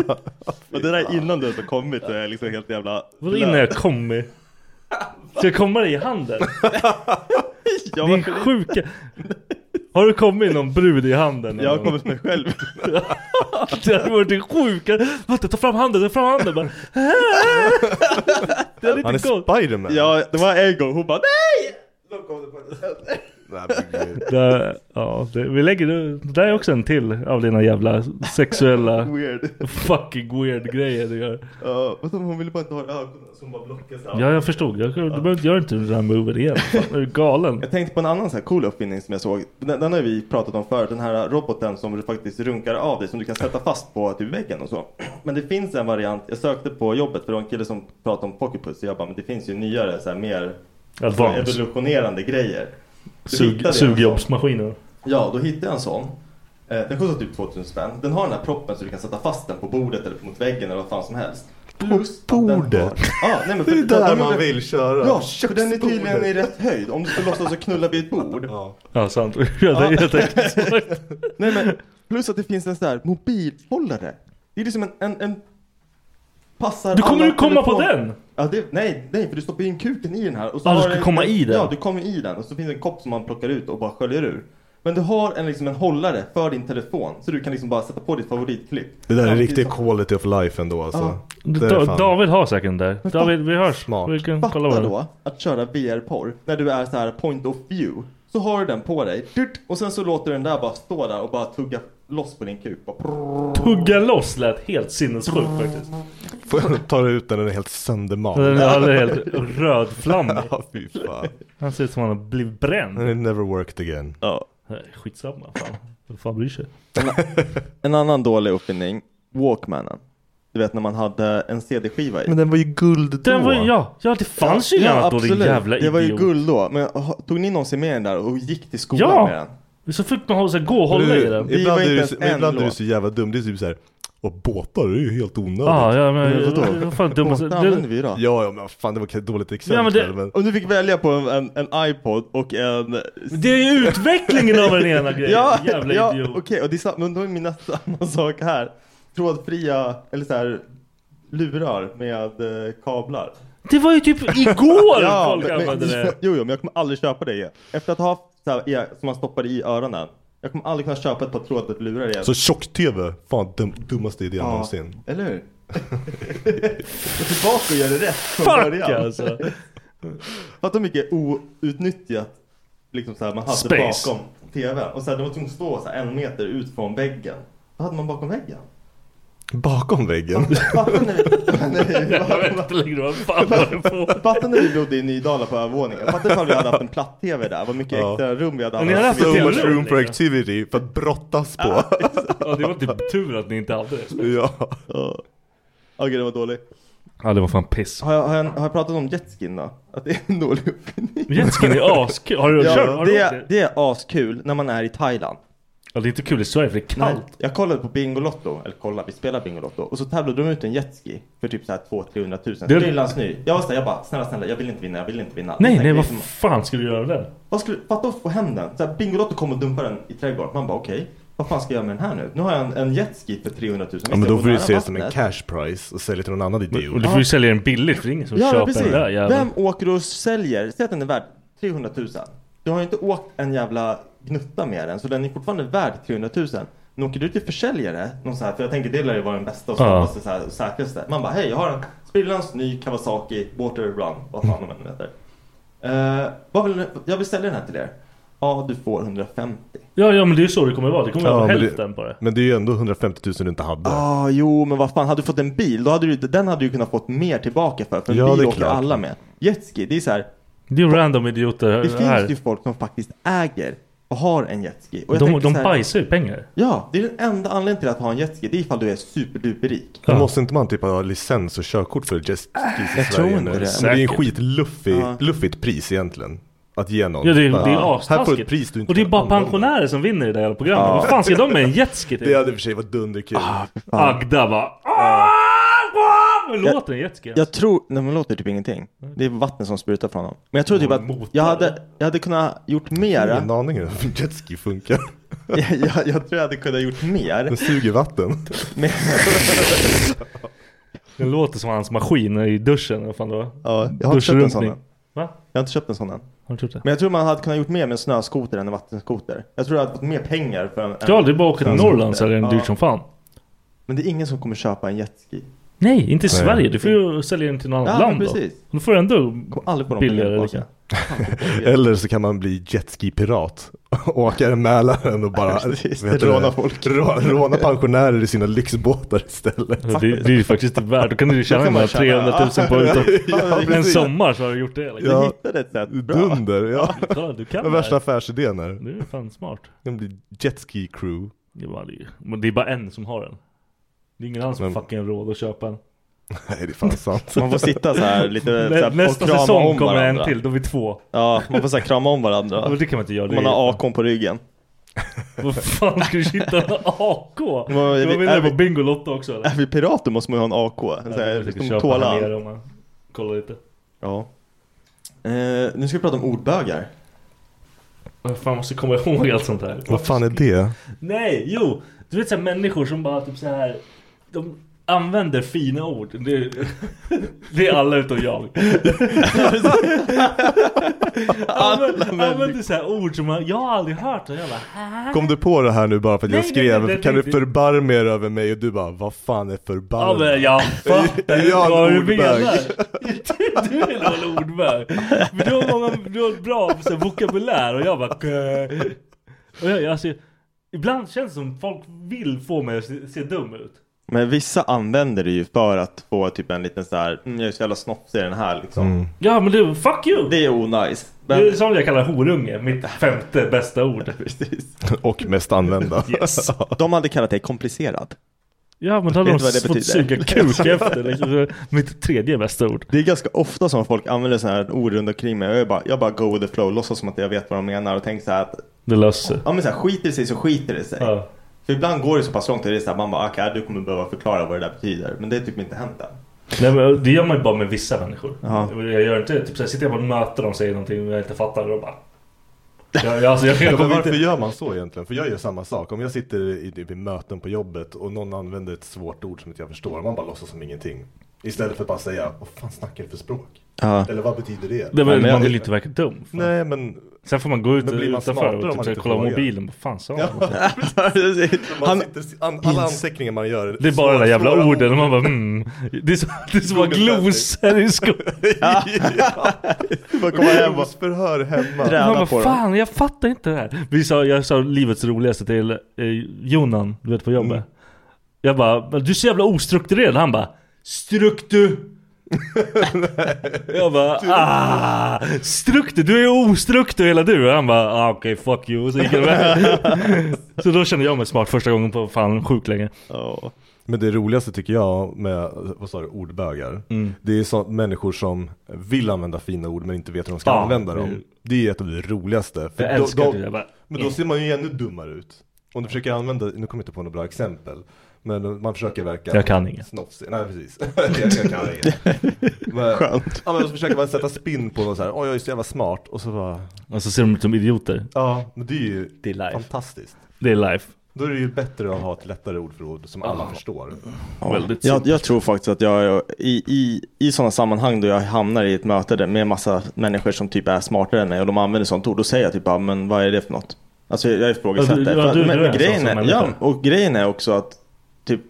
Speaker 5: det där innan du ens har kommit så är jag liksom helt jävla...
Speaker 3: Vadå innan jag kommer? Ska jag komma dig i handen?
Speaker 5: Jag,
Speaker 3: Din
Speaker 5: har-
Speaker 3: sjuka... Har du kommit någon brud i handen?
Speaker 5: jag har kommit med själv.
Speaker 3: Det hade varit det sjuka. Vänta, ta fram handen, ta fram handen bara. Det hade
Speaker 6: Han är
Speaker 3: inte gått.
Speaker 6: Spiderman.
Speaker 5: Ja, det var en gång, hon bara NEJ!
Speaker 6: Nej, men gud.
Speaker 3: Det- Ja, det, vi lägger det. Det där är också en till av dina jävla sexuella
Speaker 5: Weird.
Speaker 3: fucking weird grejer du gör.
Speaker 5: Ja, vadå, hon ville bara inte ha det i ögonen så hon bara blockade så här.
Speaker 3: Ja, jag förstod. Jag, du behöver inte göra inte den där moven igen. Fan, är du galen?
Speaker 5: Jag tänkte på en annan så här cool uppfinning som jag såg. Den, den har vi pratat om förut. Den här roboten som du faktiskt runkar av dig. Som du kan sätta fast på typ väggen och så. Men det finns en variant. Jag sökte på jobbet för det var en kille som pratade om pocketpuss. Jag bara, men det finns ju nyare så här mer
Speaker 3: Advanced.
Speaker 5: evolutionerande grejer. Du hittade
Speaker 3: Sug,
Speaker 5: en
Speaker 3: sugjobbsmaskiner.
Speaker 5: Ja, då hittade jag en sån. Eh, Den kostar typ 2000 spänn. Den har den här proppen så du kan sätta fast den på bordet eller mot väggen eller vad fan som helst. Plus att den har-
Speaker 6: bordet?
Speaker 5: Ja, nej, men
Speaker 6: Det
Speaker 5: för
Speaker 6: är där
Speaker 5: de- de-
Speaker 6: man vill köra.
Speaker 5: Ja, för den är tydligen i
Speaker 6: Köksbordet.
Speaker 5: rätt höjd. Om du skulle låtsas att knulla vid ett bord.
Speaker 6: Ja.
Speaker 3: Ja, sant. Jag, jag tänkte så.
Speaker 5: Nej men, plus att det finns en sån här mobilhållare. Det är liksom en, en, en passar
Speaker 3: Du kommer
Speaker 5: alla
Speaker 3: ju komma på
Speaker 5: telefoner.
Speaker 3: den!
Speaker 5: Ja, det, nej, nej, för du stoppar ju in kuken i den här. Och så
Speaker 3: Ja, du
Speaker 5: har
Speaker 3: ska
Speaker 5: den-
Speaker 3: komma i den.
Speaker 5: Ja, du kommer i den och så finns det en kopp som man plockar ut och bara sköljer ur. Men du har en, liksom en hållare för din telefon så du kan liksom bara sätta på ditt favoritklipp.
Speaker 6: Det där är
Speaker 5: Samtidigt
Speaker 6: riktigt
Speaker 5: som-
Speaker 6: quality of life ändå alltså. Det är
Speaker 3: Da,
Speaker 6: fan-
Speaker 3: David har säkert den där. David, vi hörs.
Speaker 6: Smart.
Speaker 3: Vi kan Mm, kolla
Speaker 5: Fatta
Speaker 3: vad det
Speaker 5: då att köra VR-porr när du är så här point of view. Så har du den på dig dyrt, och sen så låter den där bara stå där och bara tugga loss på din kuk. Bara,
Speaker 3: Tugga loss lät helt sinnessjukt faktiskt.
Speaker 6: Får jag ta ut den, den är helt söndermald.
Speaker 3: Den är alldeles helt rödflammig.
Speaker 6: Ja, fy fan.
Speaker 3: Han ser ut som han har blivit bränd.
Speaker 6: And it never worked again.
Speaker 5: ja.
Speaker 3: Nej, Skitsamma. Fan. Vem fan bryr sig?
Speaker 5: En annan dålig uppfinning, Walkmanen. Du vet när man hade en CD-skiva i.
Speaker 6: Men den var ju guld då.
Speaker 3: Den var ju, ja, ja det fanns ju inget annat då din
Speaker 5: absolut.
Speaker 3: jävla
Speaker 5: Det var ju
Speaker 3: idiot.
Speaker 5: guld då. Men ha- tog ni någonsin med den där och gick till skolan
Speaker 3: Ja!
Speaker 5: med den?
Speaker 3: Så fick man hålla sig gå och hålla i den.
Speaker 6: Du,
Speaker 5: Det var
Speaker 6: ibland är
Speaker 5: inte
Speaker 6: du,
Speaker 5: ens
Speaker 6: så-
Speaker 5: en
Speaker 6: men ibland är du
Speaker 5: låt.
Speaker 6: så jävla dum. Det är typ såhär. Och båtar det är ju helt onödigt.
Speaker 3: Ah, ja, men,
Speaker 5: Men vadå?
Speaker 3: vad fan dumt.
Speaker 5: Båtar använde
Speaker 3: Alltså, Det,
Speaker 5: vi ju då.
Speaker 6: ja, ja, men fan det var ett dåligt exempel.
Speaker 3: Ja, men det-
Speaker 6: men-
Speaker 5: Om du fick välja på en, en, en iPod och en...
Speaker 3: det är ju utvecklingen av den ena grejen.
Speaker 5: Ja,
Speaker 3: jävla
Speaker 5: ja
Speaker 3: idiot.
Speaker 5: okej. och det är sam- men då är min nästa- samma sak här. Trådfria, eller så här lurar med eh, kablar.
Speaker 3: Det var ju typ igår folk
Speaker 5: men-
Speaker 3: använde det.
Speaker 5: Jo, jo, men jag kommer aldrig köpa det igen. Efter att ha haft så här, er- som man stoppar i öronen. Jag kommer aldrig kunna köpa ett par trådade lurar igen.
Speaker 6: Så Alltså, tjock-tv, fan dum, dummaste idén någonsin.
Speaker 5: Eller hur? Gå tillbaka och gör det rätt från
Speaker 3: Fuck
Speaker 5: början.
Speaker 3: alltså.
Speaker 5: Fatta hur mycket outnyttjat liksom så här, man hade
Speaker 3: Space.
Speaker 5: bakom tvn. Och så här, det var tvungen att stå så här, en meter ut från väggen. Vad hade man bakom väggen?
Speaker 6: Bakom väggen.
Speaker 5: Fatta när vi,
Speaker 3: Jag vet inte längre vad fan var det på.
Speaker 5: Fatta när vi bodde i Nydala på övervåningen. Fatta ifall vi hade haft en platt-tv där. Vad mycket
Speaker 6: Ja.
Speaker 5: extra rum vi hade
Speaker 3: Men ni hade haft
Speaker 6: so
Speaker 3: ett
Speaker 6: much
Speaker 3: rum,
Speaker 6: room for
Speaker 3: liksom.
Speaker 6: activity för att brottas på.
Speaker 3: Ja, det var typ tur att ni inte hade det.
Speaker 6: ja.
Speaker 5: Ja. Okej, det var dåligt.
Speaker 3: Ja det var fan piss.
Speaker 5: Har jag, har jag, har jag pratat om jetskin då? Att det är en dålig uppfinning?
Speaker 3: Jetskin är askul. Har du
Speaker 5: Ja,
Speaker 3: kört? Har du
Speaker 5: det,
Speaker 3: åkt
Speaker 5: är, det är askul när man är i Thailand.
Speaker 3: Ja, det är inte kul i Sverige för det är
Speaker 5: Nej,
Speaker 3: kallt.
Speaker 5: jag kollade på Bingolotto, eller kolla, vi spelar Bingolotto. Och så tävlade de ut en jetski för typ såhär 200-300 000.
Speaker 3: Det-
Speaker 5: Det... Nylandsny. Jag var såhär, jag bara snälla snälla, jag vill inte vinna, jag vill inte vinna.
Speaker 3: Nej,
Speaker 5: Jag
Speaker 3: nej,
Speaker 5: tänkte
Speaker 3: vad
Speaker 5: liksom,
Speaker 3: fan skulle du göra med den?
Speaker 5: vad skulle, fatta att få hem den. Såhär, Bingolotto kom och dumpade den i trädgården. Man bara okej, vad fan ska jag göra med den här nu? Nu har jag en, en jetski för 300 000.
Speaker 6: ja, men då får du se det
Speaker 5: det
Speaker 6: som en cash price och sälja till någon annan
Speaker 3: Och du
Speaker 6: idiot.
Speaker 3: får ju sälja den billigt för det är ingen som
Speaker 5: Ja, men
Speaker 3: köper
Speaker 5: precis.
Speaker 3: den där jäveln.
Speaker 5: Vem åker och säljer? Säg att den är värd 300 000. Du har ju inte åkt en jävla gnutta med den. Så den är fortfarande värd 300 000. Men åker du till försäljare, någon så här, för jag tänker det lär ju vara den bästa och
Speaker 3: Ja.
Speaker 5: snabbaste så här, och säkraste. Man bara, hej jag har en sprillans ny Kawasaki Water Run, vad fan de än heter. Eh, vad vill, ni- jag beställer den här till er. Ja, du får 150.
Speaker 3: Ja, ja men det är ju så det kommer vara. Det kommer vara
Speaker 6: Ja, men det-
Speaker 3: hälften på det.
Speaker 6: Men det är ju ändå 150 000 du inte hade.
Speaker 5: Ah, jo, men vad fan, hade du fått en bil, då hade du, den hade du kunnat fått mer tillbaka för. För en
Speaker 6: Ja, det
Speaker 5: bil
Speaker 6: är
Speaker 5: åker
Speaker 6: klart.
Speaker 5: alla med. Jetski, det är så här,
Speaker 3: Det är ju random idioter
Speaker 5: det
Speaker 3: här.
Speaker 5: finns ju folk som faktiskt äger och har en jetski. Och jag
Speaker 3: de
Speaker 5: tänker
Speaker 3: de
Speaker 5: så här,
Speaker 3: bajsar ju pengar.
Speaker 5: Ja, det är den enda anledningen till att ha en jetski. Det är ifall du är superduperrik.
Speaker 6: Men
Speaker 3: Ja.
Speaker 6: Måste inte man typ ha licens och körkort för jetskis i
Speaker 5: jag
Speaker 6: Sverige
Speaker 5: tror
Speaker 6: nu? Men
Speaker 5: inte det.
Speaker 6: det är en
Speaker 3: Säkert.
Speaker 6: skitluffig,
Speaker 5: Ja.
Speaker 6: luffigt pris egentligen. Att ge någon.
Speaker 3: Ja, det, är- det är
Speaker 6: Här får du ett
Speaker 3: astaskigt.
Speaker 6: pris du inte
Speaker 3: och det är
Speaker 6: kan
Speaker 3: bara
Speaker 6: använda.
Speaker 3: pensionärer som vinner i det här jävla programmet. Vad fan ska de med en jetski till?
Speaker 6: Det hade i och för sig varit dunderkul.
Speaker 5: Ah,
Speaker 3: Agda bara... "Ah, Men låter en jetski?
Speaker 5: Jag tror, nej men låter typ ingenting. Det är vatten som sprutar från dem. Men jag tror typ
Speaker 3: Och
Speaker 5: att
Speaker 3: Mm. motor.
Speaker 5: jag hade, jag hade kunnat gjort mer.
Speaker 6: Ingen
Speaker 5: jag,
Speaker 6: aning om hur jetski funkar.
Speaker 5: jag, jag tror jag hade kunnat gjort mer.
Speaker 6: Den suger vatten.
Speaker 5: Men,
Speaker 3: Det låter som hans maskin i duschen. Vad fan det var.
Speaker 5: ja, jag har inte köpt en sån
Speaker 3: Duschrunkning.
Speaker 5: än.
Speaker 3: Va?
Speaker 5: Jag har inte köpt en sån än.
Speaker 3: Har du trott det?
Speaker 5: Men jag tror man hade kunnat gjort mer med en snöskoter än en vattenskoter. Jag tror jag hade fått mer pengar för en,
Speaker 3: Ja,
Speaker 5: en
Speaker 3: det är bara att åka till
Speaker 5: Snöskoter.
Speaker 3: Norrland så är den
Speaker 5: Ja.
Speaker 3: dyrt som fan.
Speaker 5: Men det är ingen som kommer köpa en jetski.
Speaker 3: Nej, inte i
Speaker 6: Nej.
Speaker 3: Sverige. Du får ju sälja den till något annat
Speaker 5: Ja,
Speaker 3: land
Speaker 5: precis.
Speaker 3: då. Då får du ändå
Speaker 5: Kommer aldrig få de
Speaker 3: billigare.
Speaker 5: pengarna
Speaker 3: Liksom.
Speaker 5: tillbaka.
Speaker 6: Eller så kan man bli jetski-pirat. Åka en Mälaren och bara
Speaker 5: Precis,
Speaker 6: vet du
Speaker 5: råna
Speaker 6: det?
Speaker 5: folk.
Speaker 6: Rå, råna pensionärer i sina lyxbåtar istället.
Speaker 3: Ja, Det, det är ju faktiskt inte värt. Då kan du ju tjäna
Speaker 5: kan
Speaker 3: de
Speaker 5: man
Speaker 3: här 300
Speaker 5: tjäna-
Speaker 3: 000 på utan,
Speaker 6: Ja,
Speaker 3: en
Speaker 6: precis.
Speaker 3: sommar så har du gjort det. Liksom.
Speaker 6: Ja.
Speaker 5: Du hittade ett sätt. Bra.
Speaker 6: Dunder, ja.
Speaker 3: Ja, du kan
Speaker 6: Den
Speaker 3: det
Speaker 6: värsta
Speaker 3: här.
Speaker 6: affärsidén är.
Speaker 3: Du är fan smart.
Speaker 6: Den blir jetski-crew.
Speaker 3: Det var det ju. Men det är bara en som har den. Det är ingen annan som har fucking råd att köpa en.
Speaker 6: Nej, det är fan sant.
Speaker 5: Man får sitta så här lite så
Speaker 3: Nä,
Speaker 5: här,
Speaker 3: nästa
Speaker 5: och krama
Speaker 3: säsong
Speaker 5: om
Speaker 3: kommer
Speaker 5: varandra.
Speaker 3: en till, då är vi två.
Speaker 5: Ja, man får så här, krama om varandra.
Speaker 3: Ja. Det kan man inte göra.
Speaker 5: Om man
Speaker 3: det är-
Speaker 5: har akon på ryggen.
Speaker 3: Vad fan ska du hitta en AK? Du
Speaker 5: är vi-
Speaker 3: var
Speaker 5: är
Speaker 3: vinnare
Speaker 5: vi-
Speaker 3: på Bingolotto också eller?
Speaker 5: Är Äh, vi pirater måste man ju ha en AK. En
Speaker 3: Ja,
Speaker 5: sån
Speaker 3: det
Speaker 5: här,
Speaker 3: går säkert
Speaker 5: stor
Speaker 3: att köpa här nere
Speaker 5: tålan.
Speaker 3: om man kollar lite.
Speaker 5: Ja. Eh, nu ska vi prata om ordbögar.
Speaker 3: Jag fan måste komma ihåg allt sånt här.
Speaker 6: Vad fan är det?
Speaker 3: Nej, jo! Du vet såhär människor som bara typ så här. De använder fina ord. Det, det är alla utom jag. Använder, använder såhär ord som man, jag har aldrig hört och jag bara "Hä?"
Speaker 6: Kom du på det här nu bara för att jag
Speaker 3: Ah. Nej,
Speaker 6: skrev
Speaker 3: nej, nej, det
Speaker 6: Kan du
Speaker 3: tänkte-
Speaker 6: förbarma er över mig? Och du bara, vad fan är
Speaker 3: Ja
Speaker 6: förbarma?
Speaker 3: men jag fattar
Speaker 6: Är
Speaker 3: ju
Speaker 6: jag en
Speaker 3: vad du
Speaker 6: ordbög?
Speaker 3: menar. Du, du är nog en ordbög. Men du har många, du har bra så här, vokabulär och jag bara "Kö." och jag, jag, alltså, Ibland känns det som folk vill få mig att se, se dum ut.
Speaker 5: Men vissa använder det ju för att få typ en liten så här, mm, jag är så jävla snofsig i den här liksom.
Speaker 6: Mm.
Speaker 3: Ja men du, fuck you!
Speaker 5: Det är onajs.
Speaker 3: Det är
Speaker 5: Men,
Speaker 3: som jag kallar horunge, mitt femte bästa ord.
Speaker 5: precis.
Speaker 6: Och mest använda.
Speaker 3: Yes.
Speaker 5: De hade kallat dig komplicerad.
Speaker 3: Ja men då hade
Speaker 5: Vet
Speaker 3: de
Speaker 5: du vad det
Speaker 3: fått
Speaker 5: betyder?
Speaker 3: suga kuk efter. Liksom. Mitt tredje bästa ord.
Speaker 5: Det är ganska ofta som folk använder sådana här ord runt omkring mig. Jag, är bara, jag bara go with the flow, låtsas som att jag vet vad de menar och tänker så här att
Speaker 3: Det löser sig.
Speaker 5: ja, men så här, skiter det sig så skiter det sig.
Speaker 3: Ja.
Speaker 5: För ibland går det så pass långt att det är så här, man bara "Ah, okej du kommer behöva förklara vad det där betyder. Men det är typ inte hänt än.
Speaker 3: Nej, men det gör man ju bara med vissa människor.
Speaker 5: Ja.
Speaker 3: Jag gör inte, typ, så här, sitter jag på ett möte och de säger någonting och jag inte fattar och bara... Jag, jag, alltså, jag,
Speaker 6: Ja,
Speaker 3: jag
Speaker 6: men
Speaker 3: kommer
Speaker 6: varför
Speaker 3: inte...
Speaker 6: gör man så egentligen? För jag gör samma sak. Om jag sitter i, i möten på jobbet och någon använder ett svårt ord som inte jag förstår. Man bara låtsas som ingenting. Istället för att bara säga, vad fan snackar du för språk? Eller vad betyder det?
Speaker 3: Nej, men,
Speaker 5: men jag-
Speaker 3: man vill ju inte verka dum. Fan.
Speaker 6: Nej men,
Speaker 3: Sen får man gå ut
Speaker 6: Men blir man
Speaker 3: utanför
Speaker 6: smartare om
Speaker 3: och typ,
Speaker 6: man
Speaker 3: så här,
Speaker 6: inte
Speaker 3: kolla
Speaker 6: frågar?
Speaker 3: mobilen. Vad fan sa han?
Speaker 5: Han,
Speaker 6: man sitter, an, alla anteckningar man gör.
Speaker 3: Det är bara de där jävla orden och man bara mm. Det är så- det är som att
Speaker 6: Google
Speaker 3: man glosor i skolan.
Speaker 6: Du bara kommer hem och förhör hemma.
Speaker 5: Träna
Speaker 3: Man bara,
Speaker 5: på dem.
Speaker 3: fan jag fattar inte det här. Vi sa, jag sa livets roligaste till eh, Jonan, du vet på jobbet. Jag bara, "Men du är så jävla ostrukturerad. Han bara, struktu. jag bara, ah, struktu, du är ostruktu hela du. Och han bara, ah, okej fuck you. Och Så gick jag iväg. Så då kände jag mig smart första gången på fan sjukt länge.
Speaker 5: Ja.
Speaker 6: Men det roligaste tycker jag med, vad sa du, ordbögar.
Speaker 3: Mm.
Speaker 6: Det är så, människor som vill använda fina ord men inte vet hur de ska
Speaker 3: Ja,
Speaker 6: använda
Speaker 3: det är-
Speaker 6: dem. Det är ett av det roligaste. För
Speaker 3: Jag
Speaker 6: då-
Speaker 3: älskar
Speaker 6: då-
Speaker 3: det. Jag bara, "Mm."
Speaker 6: Men då ser man ju ännu dummare ut. Om du försöker använda, nu kommer jag inte på några bra exempel. Men man försöker verka
Speaker 3: Jag kan inget.
Speaker 6: snofsig. Nej precis. jag, jag kan inget. Men, Skönt. Ja men så försöker man sätta spin på något så här. Åh jag är så jävla smart. Och så bara.
Speaker 3: och så ser de ut som idioter.
Speaker 6: Ja men det är ju
Speaker 5: Det är life.
Speaker 6: fantastiskt.
Speaker 3: Det är life.
Speaker 6: Då är det ju bättre att ha ett lättare ordförråd som alla förstår.
Speaker 3: Mm. Väldigt
Speaker 5: Jag, jag tror faktiskt att jag är- i, i, i sådana sammanhang då jag hamnar i ett möte där med massa människor som typ är smartare än mig och de använder sånt ord. Då säger jag typ bara, men vad är det för något? Alltså jag
Speaker 3: Ja,
Speaker 5: ifrågasätter.
Speaker 3: du- ja,
Speaker 5: För-
Speaker 3: du-
Speaker 5: men,
Speaker 3: du är
Speaker 5: men
Speaker 3: en
Speaker 5: grejen
Speaker 3: sån
Speaker 5: är,
Speaker 3: människa.
Speaker 5: ja, och grejen är också att typ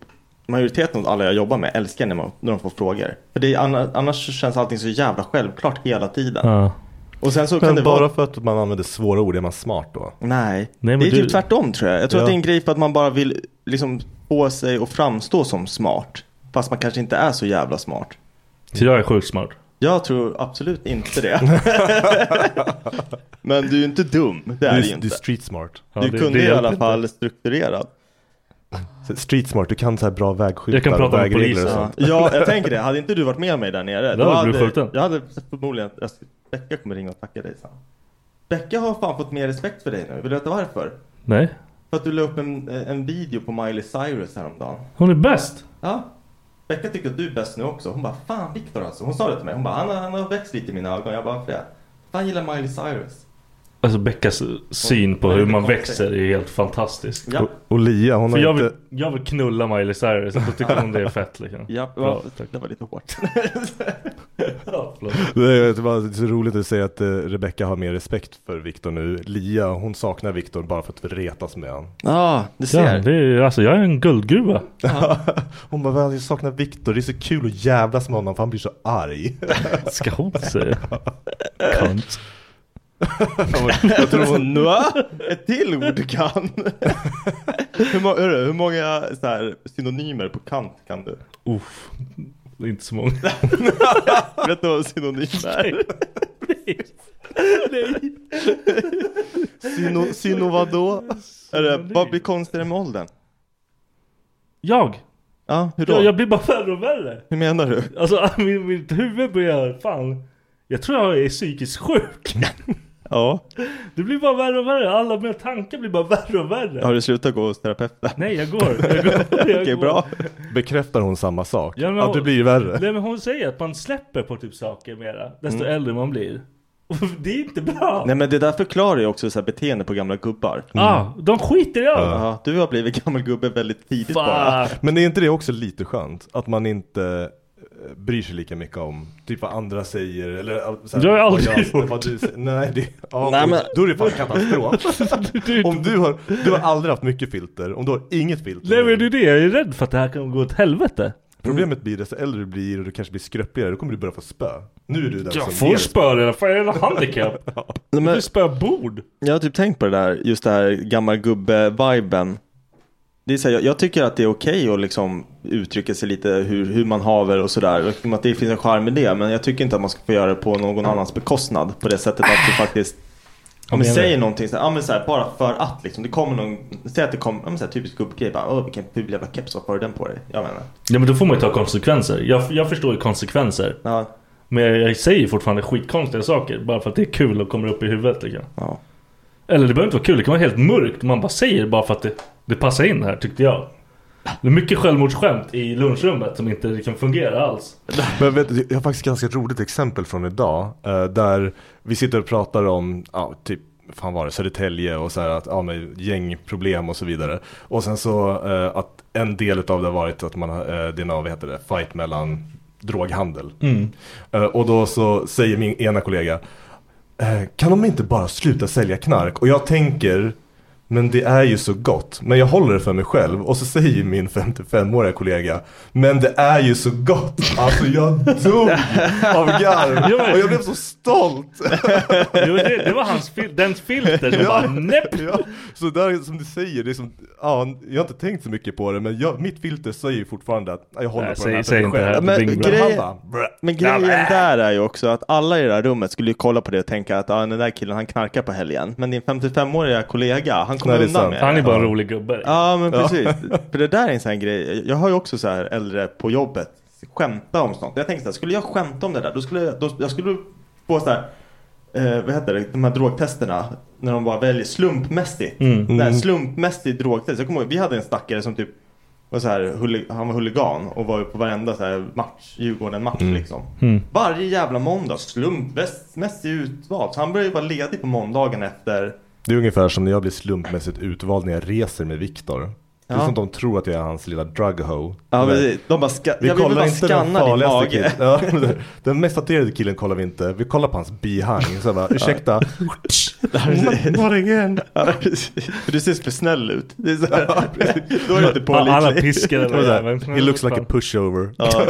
Speaker 5: majoriteten av alla jag jobbar med älskar när, man, när de får frågor. För det är, anna- annars så känns allting så jävla självklart hela tiden.
Speaker 3: Ja.
Speaker 5: Och sen så kan det
Speaker 6: Men bara
Speaker 5: vara...
Speaker 6: för att man använder svåra ord är man smart då?
Speaker 5: Nej,
Speaker 3: men
Speaker 5: det är
Speaker 3: du-
Speaker 5: typ tvärtom tror jag. Jag tror
Speaker 6: Ja.
Speaker 5: att det är en grej för att man bara vill liksom få sig och framstå som smart. Fast man kanske inte är så jävla smart.
Speaker 3: Så jag är sjukt smart.
Speaker 5: Jag tror absolut inte det. Men du är ju inte dum, det är du,
Speaker 6: du,
Speaker 5: ju
Speaker 6: du
Speaker 5: inte.
Speaker 6: är street smart.
Speaker 3: Ja,
Speaker 5: du
Speaker 3: det-
Speaker 5: kunde
Speaker 3: det
Speaker 5: i
Speaker 3: hjälper
Speaker 5: alla
Speaker 3: inte.
Speaker 5: fall strukturerad.
Speaker 6: Så Street smart, du kan så här bra vägskyltar
Speaker 3: Jag kan prata
Speaker 6: och
Speaker 3: med
Speaker 6: vägregler
Speaker 3: polisen.
Speaker 6: och
Speaker 5: Ja,
Speaker 6: sånt.
Speaker 5: ja, jag tänker det. Hade inte du varit med mig där nere.
Speaker 3: Då hade du blivit skjuten.
Speaker 5: Jag hade förmodligen... Jag ska, Becka kommer ringa och tacka dig sen. Becka har fan fått mer respekt för dig nu. Vill du veta varför?
Speaker 3: Nej.
Speaker 5: För att du la upp en, en video på Miley Cyrus häromdagen.
Speaker 3: Hon är bäst.
Speaker 5: Ja. Becka tycker att du är bäst nu också. Hon bara, fan Viktor alltså. Hon sa det till mig. Hon bara, han, har- han har växt lite i mina ögon. Jag bara, varför det? Fan gillar Miley Cyrus.
Speaker 3: Alltså Beckas syn på
Speaker 5: Hon är
Speaker 3: hur
Speaker 5: lite
Speaker 3: man
Speaker 5: konstig.
Speaker 3: växer är helt fantastisk.
Speaker 5: Ja.
Speaker 6: Och, och Lia, hon
Speaker 3: För
Speaker 6: har
Speaker 3: jag
Speaker 6: inte...
Speaker 3: vill, jag vill knulla Miley Cyrus, så då tycker hon det är fett liksom.
Speaker 5: Ja, det
Speaker 3: Bra,
Speaker 5: var,
Speaker 3: tack.
Speaker 5: det var lite hårt.
Speaker 3: Ja, förlåt.
Speaker 6: Det är bara så roligt att säga att eh, Rebecca har mer respekt för Viktor nu. Lia, hon saknar Viktor bara för att retas med honom.
Speaker 5: Ja, du
Speaker 3: Ja,
Speaker 5: ser.
Speaker 3: det är, alltså jag är en guldgruva.
Speaker 6: Hon bara, "Väl, jag saknar Viktor, det är så kul att jävlas med honom för han blir så arg.
Speaker 3: Ska hon säga? Kunt.
Speaker 5: Jag tror hon... Nå? Ett till ord kan. hur, må, hörru, hur många så här, synonymer på kant kan du?
Speaker 3: Uff. Det är inte så många.
Speaker 5: Vet du vad synonym är? Syno, syno vadå? Är det, vad blir konstigare med åldern?
Speaker 3: Jag?
Speaker 5: Ja, hur då?
Speaker 3: Jag, jag blir bara värre och värre.
Speaker 5: Hur menar du?
Speaker 3: Alltså min, mitt huvud börjar, fan. Jag tror jag är psykiskt sjuk.
Speaker 5: Ja.
Speaker 3: Det blir bara värre och värre. Alla mina tankar blir bara värre och värre.
Speaker 5: Har du slutat gå hos terapeuten?
Speaker 3: Nej jag går. Jag går. Jag
Speaker 5: Okej,
Speaker 3: går.
Speaker 5: bra.
Speaker 6: Bekräftar hon samma sak?
Speaker 3: Ja, men-
Speaker 6: att det blir värre? Mm.
Speaker 3: Nej men hon säger att man släpper på typ saker mera. Desto äldre man blir. Och det är inte bra.
Speaker 5: Nej men det där förklarar ju också så här beteende på gamla gubbar.
Speaker 6: Mm.
Speaker 3: Ah, de skiter i allt.
Speaker 5: Ja, du har blivit gammal gubbe väldigt tidigt bara.
Speaker 3: Fuck.
Speaker 6: Men är inte det också lite skönt? Att man inte eh, bryr sig lika mycket om typ vad andra säger eller eh, så här,
Speaker 3: Det har jag aldrig
Speaker 6: vad
Speaker 3: gjort.
Speaker 6: Vad du säger. Nej, det, ja,
Speaker 5: Nej,
Speaker 6: då-
Speaker 5: men-
Speaker 6: då är det fan katastrof. om du har, du har aldrig haft mycket filter, om du har inget filter.
Speaker 3: Nej men det är det, jag är rädd för att det här kan gå åt helvete.
Speaker 6: Problemet blir desto äldre du blir och du kanske blir skröpligare, då kommer du börja få spö. Nu är alltså du den
Speaker 3: Jag
Speaker 6: som
Speaker 3: får
Speaker 6: ger
Speaker 3: spö redan, fan jag är en handikapp.
Speaker 5: Nej, men,
Speaker 3: Du spöar bord.
Speaker 5: jag har typ tänkt på det där, just det här gammal gubbe-viben. Det är så här, jag, jag tycker att det är okej att liksom uttrycka sig lite hur, hur man haver och sådär. Och Att det finns en charm i det. Men jag tycker inte att man ska få göra det på någon
Speaker 3: Mm.
Speaker 5: annans bekostnad. På det sättet att du faktiskt Ja, men
Speaker 3: menar
Speaker 5: säger
Speaker 3: du?
Speaker 5: någonting så här, ja, men så här, bara för att liksom. Det kommer någon, säg att det kommer, ja, men så här, typisk gubbgrej bara, åh vilken ful jävla keps, varför har du den på dig? Jag menar.
Speaker 3: Ja men då får man ju ta konsekvenser. Jag, jag förstår ju konsekvenser.
Speaker 5: Ja,
Speaker 3: Men jag, jag säger fortfarande skitkonstiga saker. Bara för att det är kul och kommer upp i huvudet liksom.
Speaker 5: ja.
Speaker 3: Eller det behöver inte vara kul, det kan vara helt mörkt. Man bara säger det bara för att det, det passar in här tyckte jag. Det är mycket självmordsskämt i lunchrummet som inte kan fungera alls.
Speaker 6: Men vet, du, jag har faktiskt ganska roligt exempel från idag. Eh, där vi sitter och pratar om, ja, typ, fan var det, Södertälje och så här att, ja, men gängproblem och så vidare. Och sen så eh, att en del av det har varit att man, har, eh, det är någon, vad heter det, fight mellan droghandel. Eh, och då så säger min ena kollega, eh, kan de inte bara sluta sälja knark? Och jag tänker, men det är ju så gott. Men jag håller det för mig själv. Och så säger min 55-åriga kollega, men det är ju så gott. Alltså jag dog av
Speaker 3: Ja, men-
Speaker 6: garv. Och jag blev så stolt.
Speaker 3: Det var, det, det var hans fil- dens filter som bara näpp.
Speaker 6: Ja, så där som du säger, det är som, ja, jag har inte tänkt så mycket på det. Men jag, mitt filter säger ju fortfarande att jag håller
Speaker 3: Nej,
Speaker 6: på
Speaker 3: säg-
Speaker 6: den här
Speaker 3: säg
Speaker 6: för mig
Speaker 3: inte
Speaker 6: själv.
Speaker 3: det här.
Speaker 6: Han
Speaker 3: Bing bang.
Speaker 5: Men grejen,
Speaker 6: bara, "Brä."
Speaker 5: Men grejen där är ju också att alla i det här rummet skulle ju kolla på det och tänka att ah, den där killen han knarkar på helgen. Men din 55-åriga kollega, han kommer
Speaker 6: Nej, det är
Speaker 5: undan
Speaker 6: sant.
Speaker 5: med
Speaker 3: Han är
Speaker 5: det.
Speaker 3: bara en rolig gubbe.
Speaker 5: Ja men precis. För det där är en sån här grej. Jag har ju också så här äldre på jobbet skämta om sånt. Jag tänkte så här, skulle jag skämta om det där då skulle jag, då, jag skulle få så här Eh, vad heter det? De här drogtesterna. När de bara väljer slumpmässigt. Det här slumpmässigt drogtest. Jag kommer ihåg, vi hade en stackare som typ var så här, huli- han var huligan och var ju på varenda så här match, Djurgården-match liksom. Varje jävla måndag, slumpmässigt utvald. Så han började ju vara ledig på måndagen efter
Speaker 6: Det är ungefär som när jag blir slumpmässigt utvald när jag reser med Viktor. Det är
Speaker 5: Ja.
Speaker 6: som de tror att jag är hans lilla drugho.
Speaker 5: Ja,
Speaker 6: Men-
Speaker 5: men de bara ska,
Speaker 6: Vi
Speaker 5: jag vill
Speaker 6: kollar
Speaker 5: bara
Speaker 6: inte den
Speaker 5: skanna din
Speaker 6: farligaste
Speaker 5: mage.
Speaker 6: killen. Ja, men den- den mest tatuerade killen kollar vi inte. Vi kollar på hans bihang. Så jag bara, ursäkta.
Speaker 5: Det här är-
Speaker 6: Not again.
Speaker 5: Ja, precis. För du ser för snäll ut. Det är så här, då är du inte
Speaker 3: Alla- alla
Speaker 5: pålitlig.
Speaker 3: piskar den
Speaker 6: Det var
Speaker 3: där
Speaker 6: så här,
Speaker 3: jäveln.
Speaker 6: It looks like a pushover.
Speaker 5: Ja,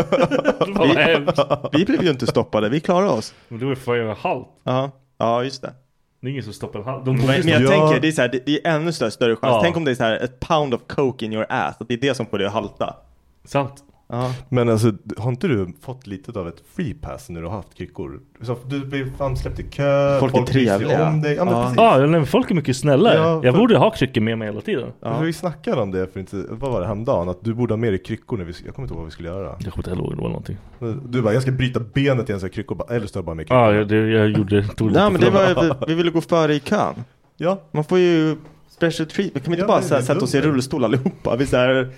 Speaker 3: Vad hemskt.
Speaker 5: vi blev ju inte stoppade, vi klarade oss.
Speaker 3: Men då är fan jag halt.
Speaker 5: Ja, ja just det.
Speaker 3: Det är ingen som stoppar en halt. De borde
Speaker 5: Men, men
Speaker 3: stoppa.
Speaker 5: jag
Speaker 6: Ja.
Speaker 5: tänker, det är, så här, det, det är ännu större, större chans.
Speaker 3: Ja.
Speaker 5: Tänk om det är så här, ett pound of coke in your ass, att det är det som får dig att halta.
Speaker 3: Sant.
Speaker 5: Ja.
Speaker 6: Men alltså, har inte du fått lite av ett free pass när du har haft kryckor? Så du blir framsläppt i kö,
Speaker 5: Folk är
Speaker 6: bryr sig
Speaker 5: trevliga.
Speaker 6: om dig. Ja, men
Speaker 5: Ja.
Speaker 6: precis.
Speaker 3: Ah, Ja, men folk är mycket snällare.
Speaker 6: Ja,
Speaker 3: jag
Speaker 6: för-
Speaker 3: borde ha kryckor med mig hela tiden.
Speaker 6: För Vi snackade om det för inte, vad var det, häromdagen? Att du borde ha med dig kryckor när vi, jag kommer inte ihåg vad vi skulle göra.
Speaker 3: Jag kommer inte ihåg, det var någonting.
Speaker 6: Mm. Du bara, jag ska bryta benet i en sån här kryckor, bara, eller står bara med kryckor.
Speaker 3: Ah, Ja, jag, det, jag gjorde... Tog lite
Speaker 5: Nej men det
Speaker 3: för-
Speaker 5: var, vi, vi ville gå före i kön.
Speaker 6: Ja.
Speaker 5: Man får ju special treatment. Kan vi inte
Speaker 6: Ja,
Speaker 5: bara
Speaker 6: det är
Speaker 5: så här,
Speaker 6: det
Speaker 5: sätta oss i
Speaker 6: dunder.
Speaker 5: rullstol allihopa? Vi är såhär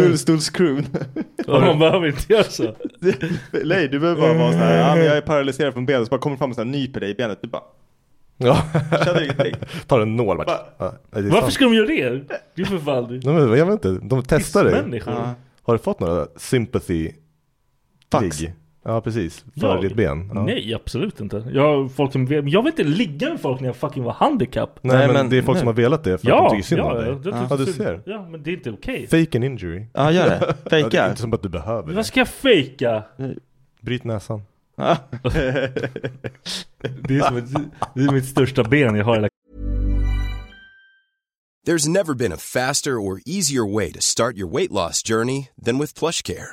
Speaker 5: rullstolscrewn.
Speaker 3: Och man behöver inte göra så.
Speaker 5: Nej du behöver bara vara såhär, ja, men jag är paralyserad från benet. Så bara kommer fram och så här, nyper dig i benet. Du bara,
Speaker 6: ja.
Speaker 5: känner ingenting.
Speaker 6: Tar en nål
Speaker 5: Va?
Speaker 6: bara. Ja, det är
Speaker 3: Varför
Speaker 6: sant.
Speaker 3: ska de göra det? Det är för fan...
Speaker 6: Nej, men, jag vet inte, de testar dig.
Speaker 3: Människor.
Speaker 5: Ja.
Speaker 6: Har du fått några sympathy
Speaker 5: Fax.
Speaker 6: ligg? Ja precis, för
Speaker 3: Jag?
Speaker 6: ditt ben. Ja.
Speaker 3: Nej, absolut inte. Jag, folk som, jag vill inte ligga med folk när jag fucking var handikapp.
Speaker 6: Nej,
Speaker 5: Nej,
Speaker 6: men,
Speaker 5: men-
Speaker 6: det är folk
Speaker 5: nej.
Speaker 6: som har velat det för att de
Speaker 3: Ja,
Speaker 6: tycker synd
Speaker 3: ja,
Speaker 6: om dig.
Speaker 3: jag tycker
Speaker 6: Ja,
Speaker 3: synd.
Speaker 6: du ser.
Speaker 3: Ja, men det är inte okej.
Speaker 6: Fake an injury.
Speaker 5: Ja gör det,
Speaker 6: Ja, det är
Speaker 5: fejka.
Speaker 6: inte som att du behöver det.
Speaker 3: Vad ska jag fejka?
Speaker 6: Bryt näsan.
Speaker 5: Ja.
Speaker 3: Det är, som ett, det är mitt största ben jag har i hela
Speaker 7: There's never been a faster or easier way to start your weight loss journey than with PlushCare.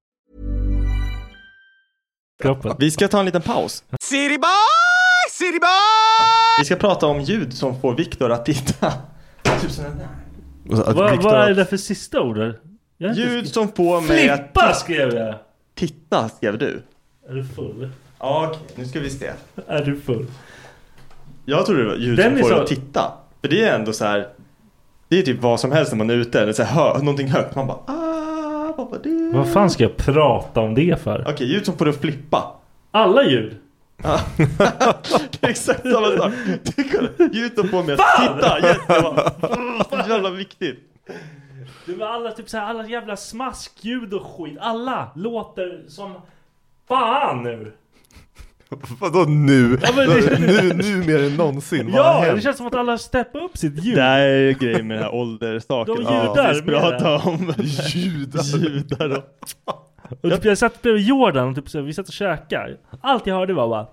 Speaker 3: kroppen.
Speaker 5: Vi ska ta en liten paus.
Speaker 4: City boy, city boy.
Speaker 5: Vi ska prata om ljud som får Viktor att titta.
Speaker 6: Att
Speaker 3: Vad,
Speaker 6: Viktor-
Speaker 3: vad är det för sista ordet? Jag har inte-
Speaker 5: Ljud som får mig att
Speaker 3: Flippa skrev jag!
Speaker 5: titta, skrev du.
Speaker 3: Är du full?
Speaker 5: Ja, okej, nu ska vi se.
Speaker 3: Är du full?
Speaker 5: Jag tror det var ljud
Speaker 3: Den
Speaker 5: som
Speaker 3: är
Speaker 5: får
Speaker 3: så-
Speaker 5: dig att titta. För det är ändå så här. Det är typ vad som helst när man är ute. Eller så här, hör, någonting högt. Man bara ah, vad var det?
Speaker 3: Vad fan ska jag prata om det för?
Speaker 5: Okej, ljud som får dig att flippa.
Speaker 3: Alla ljud!
Speaker 5: Det är Exakt samma sak. Det är kolla, Ljud som får mig att titta. Yes, det var så jävla viktigt.
Speaker 3: Det var alla typ så här, alla jävla smaskljud och skit. Alla låter som fan nu!
Speaker 6: Vadå nu?
Speaker 3: Ja, men det-
Speaker 6: nu? Nu mer än någonsin? Vad har
Speaker 3: Ja,
Speaker 6: hänt?
Speaker 3: det känns som att alla steppar upp sitt ljud.
Speaker 5: Det här är ju grejen med den här ålderssaken.
Speaker 3: De
Speaker 5: Ja,
Speaker 3: ljudar
Speaker 5: precis,
Speaker 3: med
Speaker 5: prata om.
Speaker 6: Judar.
Speaker 5: Ljudar och...
Speaker 3: Och typ, jag satt bredvid Jordan och typ, så här, vi satt och käkade. Allt jag hörde var bara...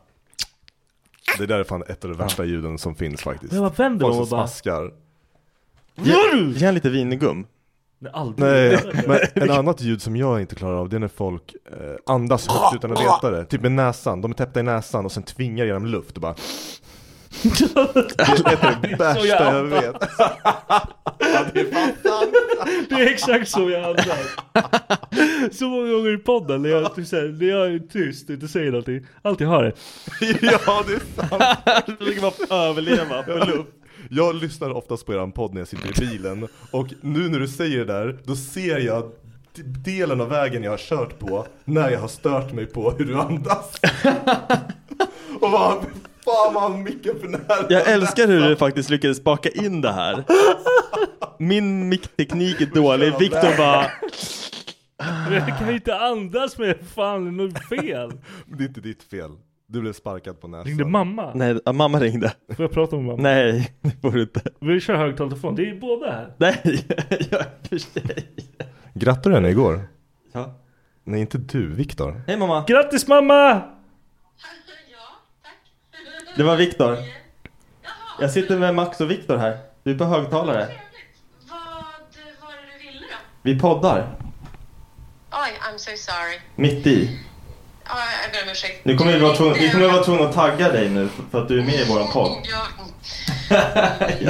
Speaker 6: Det där är fan ett av de värsta ljuden som finns faktiskt.
Speaker 3: Jag bara vänder
Speaker 6: Folk
Speaker 3: mig
Speaker 6: som
Speaker 3: och bara...
Speaker 6: smaskar.
Speaker 5: Ge, ge en lite vingum.
Speaker 3: Nej, aldrig.
Speaker 6: Nej, men en annat ljud som jag inte klarar av det är när folk eh, andas högt utan att veta det. Typ med näsan, de är täppta i näsan och sen tvingar genom luft och bara Det är ett av det
Speaker 3: Så
Speaker 6: värsta jag
Speaker 3: jag-
Speaker 6: vet.
Speaker 3: Det är exakt så jag andas. Så många gånger i podden när jag, typ, så här, när jag är tyst och inte säger någonting. Allt jag hör är...
Speaker 6: Ja, det är sant.
Speaker 5: Då försöker man överleva på luft.
Speaker 6: Jag lyssnar oftast på eran podd när jag sitter i bilen och nu när du säger det där, då ser jag d- delen av vägen jag har kört på när jag har stört mig på hur du andas. och vad fan vad han micken för nära.
Speaker 5: Jag älskar hur du faktiskt lyckades baka in det här. Min mickteknik är dålig. Viktor bara...
Speaker 3: Jag kan ju inte andas med fan, det är något fel.
Speaker 6: Det är inte ditt fel. Du blev sparkad på näsan.
Speaker 3: Ringde mamma?
Speaker 5: Nej, ja, mamma ringde.
Speaker 3: Får jag prata med mamma?
Speaker 5: Nej, det får du inte.
Speaker 3: Vi kör högtalartelefon, det är ju båda här.
Speaker 5: Nej, jag är för sig.
Speaker 6: Grattade du henne igår?
Speaker 5: Ja.
Speaker 6: Nej, inte du, Viktor.
Speaker 5: Hej mamma.
Speaker 3: Grattis mamma!
Speaker 5: Det var Viktor. Jag sitter med Max och Viktor här. Du är på högtalare.
Speaker 4: Vad var det du
Speaker 5: Vi poddar.
Speaker 8: Oj, I'm so sorry.
Speaker 5: Mitt i.
Speaker 8: Ja, jag ber om ursäkt.
Speaker 5: Nu kommer vi, vara tvungna, vi kommer vara tvungna att tagga dig nu för- för att du är med i våran podd.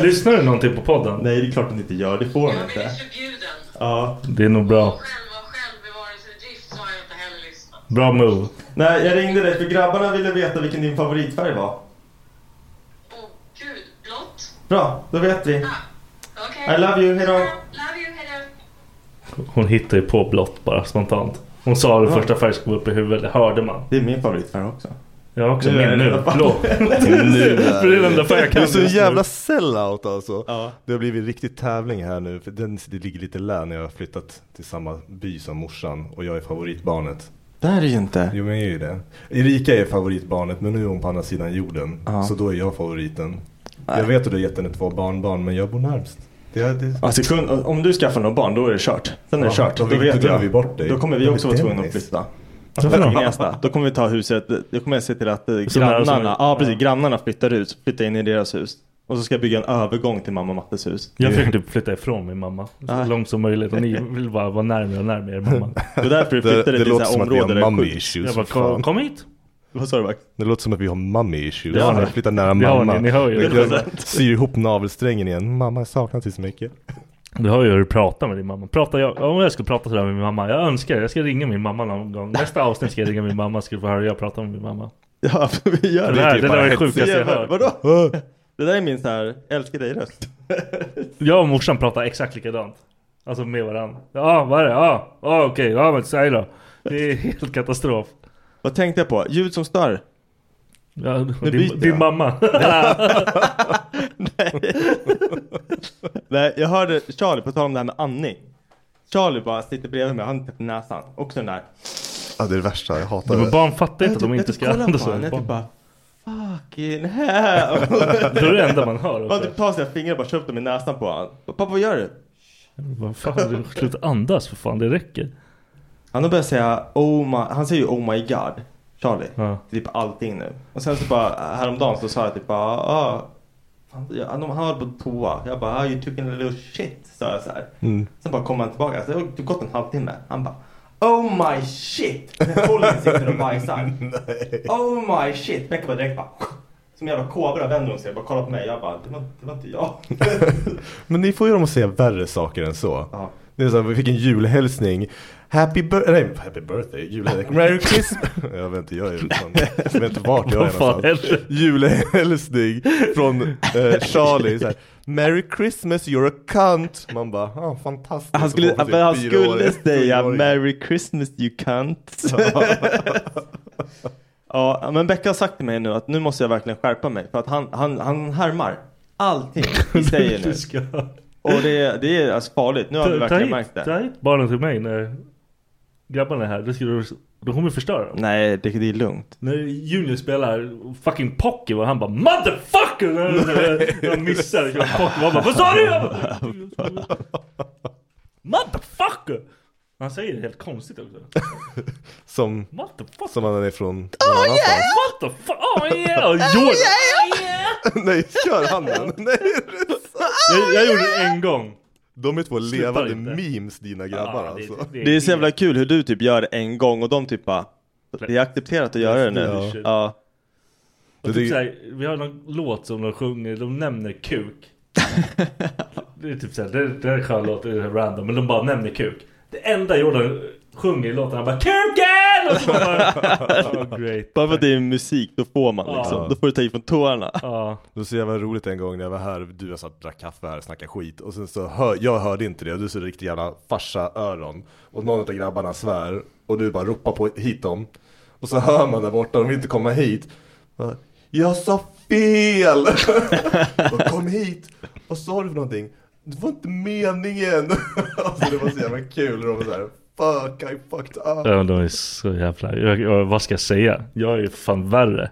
Speaker 3: Lyssnar du någonting på podden?
Speaker 5: Nej, det är klart att ni inte gör. Det får ni inte. Ja.
Speaker 3: Det är nog bra. Bra move.
Speaker 5: Nej, jag ringde dig för grabbarna ville veta vilken din favoritfärg var. Åh, gud. Blått. Bra, då vet vi.
Speaker 8: Ah,
Speaker 5: I love you, hejdå.
Speaker 3: Hon hittar ju på blått bara spontant. Hon sa det första färg som kom upp i huvudet, det hörde man.
Speaker 5: Det är min favoritfärg också.
Speaker 3: Jag har också
Speaker 5: Nu är
Speaker 3: min
Speaker 5: det i
Speaker 3: nu,
Speaker 5: alla fall.
Speaker 3: blå. För det är den enda färg jag
Speaker 6: Du är
Speaker 3: kan.
Speaker 6: så
Speaker 3: just nu.
Speaker 6: jävla sellout alltså.
Speaker 5: Ja.
Speaker 6: Det har blivit riktigt tävling här nu. För den, det ligger lite lä när jag har flyttat till samma by som morsan och jag är favoritbarnet.
Speaker 5: Det här är ju inte.
Speaker 6: Jo men jag är ju det. Erika är favoritbarnet men nu är hon på andra sidan jorden.
Speaker 5: Ja.
Speaker 6: Så då är jag favoriten. Jag vet att du har gett henne två barnbarn men jag bor närmst. Det, är- det,
Speaker 5: Alltså, kun- om du skaffar några barn, då är det kört. Sen är det
Speaker 6: Ja,
Speaker 5: kört.
Speaker 6: då
Speaker 5: Då,
Speaker 6: vi- då
Speaker 5: vet
Speaker 6: glömmer
Speaker 5: jag.
Speaker 6: vi bort dig.
Speaker 5: Då kommer vi
Speaker 6: Ja,
Speaker 5: också
Speaker 6: men
Speaker 5: vara tvungna att
Speaker 6: Dennis.
Speaker 5: flytta. Alltså,
Speaker 3: Varför då?
Speaker 5: Gnesta. Då kommer vi ta huset, då kommer jag se till att
Speaker 3: Så
Speaker 5: eh,
Speaker 3: nära som
Speaker 5: grannarna,
Speaker 3: möjligt.
Speaker 5: ja, precis, grannarna flyttar ut, flyttar in i deras hus. Och så ska jag bygga en övergång till mamma och Mattes hus.
Speaker 3: Jag försöker typ flytta ifrån min mamma så
Speaker 5: Ah.
Speaker 3: långt som möjligt. Och ni vill bara vara närmare och närmare er mamma.
Speaker 5: Det är därför vi
Speaker 6: det,
Speaker 5: flyttade till så här områden där det är
Speaker 6: mummy
Speaker 5: sjukt.
Speaker 6: issues.
Speaker 3: Jag bara, kom, kom hit!
Speaker 5: Vad sa du Max?
Speaker 6: Det låter som att vi har mummy issues.
Speaker 5: Det har
Speaker 6: Ja,
Speaker 5: ni.
Speaker 6: vi flyttar nära
Speaker 3: Det har
Speaker 6: mamma.
Speaker 3: ni, ni hör ju det.
Speaker 6: jag, jag syr ihop navelsträngen igen. Mamma jag saknar dig så mycket.
Speaker 3: Du hör ju hur du pratar med din mamma. Pratar jag, om jag skulle prata sådär med min mamma. Jag önskar det. Jag ska ringa min mamma någon gång. Nästa avsnitt ska jag ringa min mamma. Ska du få höra hur jag pratar med min mamma.
Speaker 5: Ja, vi gör
Speaker 3: Det
Speaker 5: det.
Speaker 3: där, det där var det sjukaste jag
Speaker 5: Jävlar,
Speaker 3: hört.
Speaker 5: Vadå? Det där är min så här, älskar dig röst.
Speaker 3: Jag och morsan pratar exakt likadant. Alltså med varandra. Ja, vad är det? Ja, ja okej. Ja, men säg då. Det är helt katastrof.
Speaker 5: Vad tänkte jag på? Ljud som stör.
Speaker 3: Ja,
Speaker 5: byter
Speaker 3: din, din
Speaker 5: jag.
Speaker 3: mamma.
Speaker 5: Nej, jag hörde Charlie, på tal om det här med andning. Charlie bara sitter bredvid mig, han täpper näsan. Också den där.
Speaker 6: Ja, det är det värsta, jag hatar
Speaker 3: Men
Speaker 6: det.
Speaker 3: barn fattar inte att de
Speaker 5: Jag
Speaker 3: inte
Speaker 5: typ
Speaker 3: ska
Speaker 5: kollar
Speaker 3: använda
Speaker 5: på
Speaker 3: sig
Speaker 5: honom,
Speaker 3: av
Speaker 5: Jag typ
Speaker 3: barn.
Speaker 5: bara fucking hell.
Speaker 3: Det är det enda man hör
Speaker 5: Han
Speaker 3: också.
Speaker 5: typ tar sina fingrar och bara kör upp dem i näsan på honom. Pappa vad gör du?
Speaker 3: Vad fan, du- sluta andas för fan. Det räcker.
Speaker 5: Han har börjat säga oh my, han säger ju oh my god Charlie
Speaker 3: Ja.
Speaker 5: Typ allting nu Och sen så bara häromdagen så sa jag typ bara ah, fan, jag- han han höll på toa Jag bara ah, you took a little shit sa jag så här. Sen bara kom han tillbaka, så det har typ gått en halvtimme Han bara Oh my shit! När Pollen sitter och bajsar Oh my shit! Becka bara direkt bara Som en jävla kobra vänder hon sig och bara kollar på mig Jag bara det var, det var inte jag
Speaker 6: Men ni får ju dem att säga värre saker än så.
Speaker 5: Ja.
Speaker 6: Det är så här, vi fick en julhälsning. Happy birthday, nej happy birthday, julhälsning. Merry Christmas. jag vet inte, jag är ju fan- jag vet inte vart jag är
Speaker 3: Vad fan
Speaker 6: någonstans.
Speaker 3: händer?
Speaker 6: Julhälsning från eh, Charlie. Så här, Merry Christmas you're a cunt. Man bara, ah, fantastiskt.
Speaker 5: Han skulle,
Speaker 6: Och bara för
Speaker 5: men han
Speaker 6: typ
Speaker 3: typ
Speaker 6: fyra
Speaker 5: skulle
Speaker 6: år-
Speaker 5: säga
Speaker 6: fyraåringar.
Speaker 5: Merry Christmas you cunt. ja, men Becka har sagt till mig nu att nu måste jag verkligen skärpa mig. För att han, han, han härmar allting vi säger nu.
Speaker 3: Du ska-
Speaker 5: Och det, det är alltså farligt. Nu har vi
Speaker 3: Ta- ta
Speaker 5: verkligen
Speaker 3: hit,
Speaker 5: märkt
Speaker 3: Ta
Speaker 5: det.
Speaker 3: hit barnen till mig när grabbarna är här. Då, skulle, du- då kommer vi förstöra dem.
Speaker 5: Nej, det, det är lugnt.
Speaker 3: När Junior spelar fucking Pocky och han bara 'Motherfucker!' När- när- när han missar det, Pocky och han bara 'Vad sa du?' Jag bara, Motherfucker! Han säger det helt konstigt också.
Speaker 6: Som,
Speaker 3: Motherfucker!
Speaker 6: som han är från någon annanstans.
Speaker 3: What the fuck? Oh yeah! Och Jordan.
Speaker 6: Nej, kör han den? Nej,
Speaker 3: Jag, jag gjorde det en gång.
Speaker 6: de är två
Speaker 3: Slutar
Speaker 6: levande
Speaker 3: inte.
Speaker 6: memes dina grabbar
Speaker 3: Ja,
Speaker 6: alltså.
Speaker 5: Det är så jävla kul hur du typ gör det en gång och de typ bara, det är accepterat att göra det
Speaker 3: Ja.
Speaker 5: nu. Ja.
Speaker 3: Och
Speaker 6: Det-
Speaker 3: typ såhär, vi har någon låt som de sjunger, de nämner kuk. det är typ såhär, det, det är en skön låt, det är random, men de bara nämner kuk. Det enda Jordan sjunger i låten, han bara 'KUKEN!' Och så bara, oh, great.
Speaker 5: Bara för att det är musik, då får man liksom.
Speaker 3: Ja.
Speaker 5: Då får du ta i från tårna.
Speaker 3: Ja,
Speaker 6: Det var så jävla roligt en gång när jag var här, du jag satt och drack kaffe här och snackade skit och sen så hör, jag hörde inte det och du så riktigt jävla farsa öron och någon av grabbarna svär och du bara ropar på hit dem och så hör man där borta, de vill inte komma hit. Bara, Jag sa fel! och kom hit! Vad sa du för någonting? Det var inte meningen! alltså det var så jävla kul och de var så här, fuck I fucked up.
Speaker 3: ja de är så jävla... Jag, jag, vad ska jag säga? Jag är ju fan värre.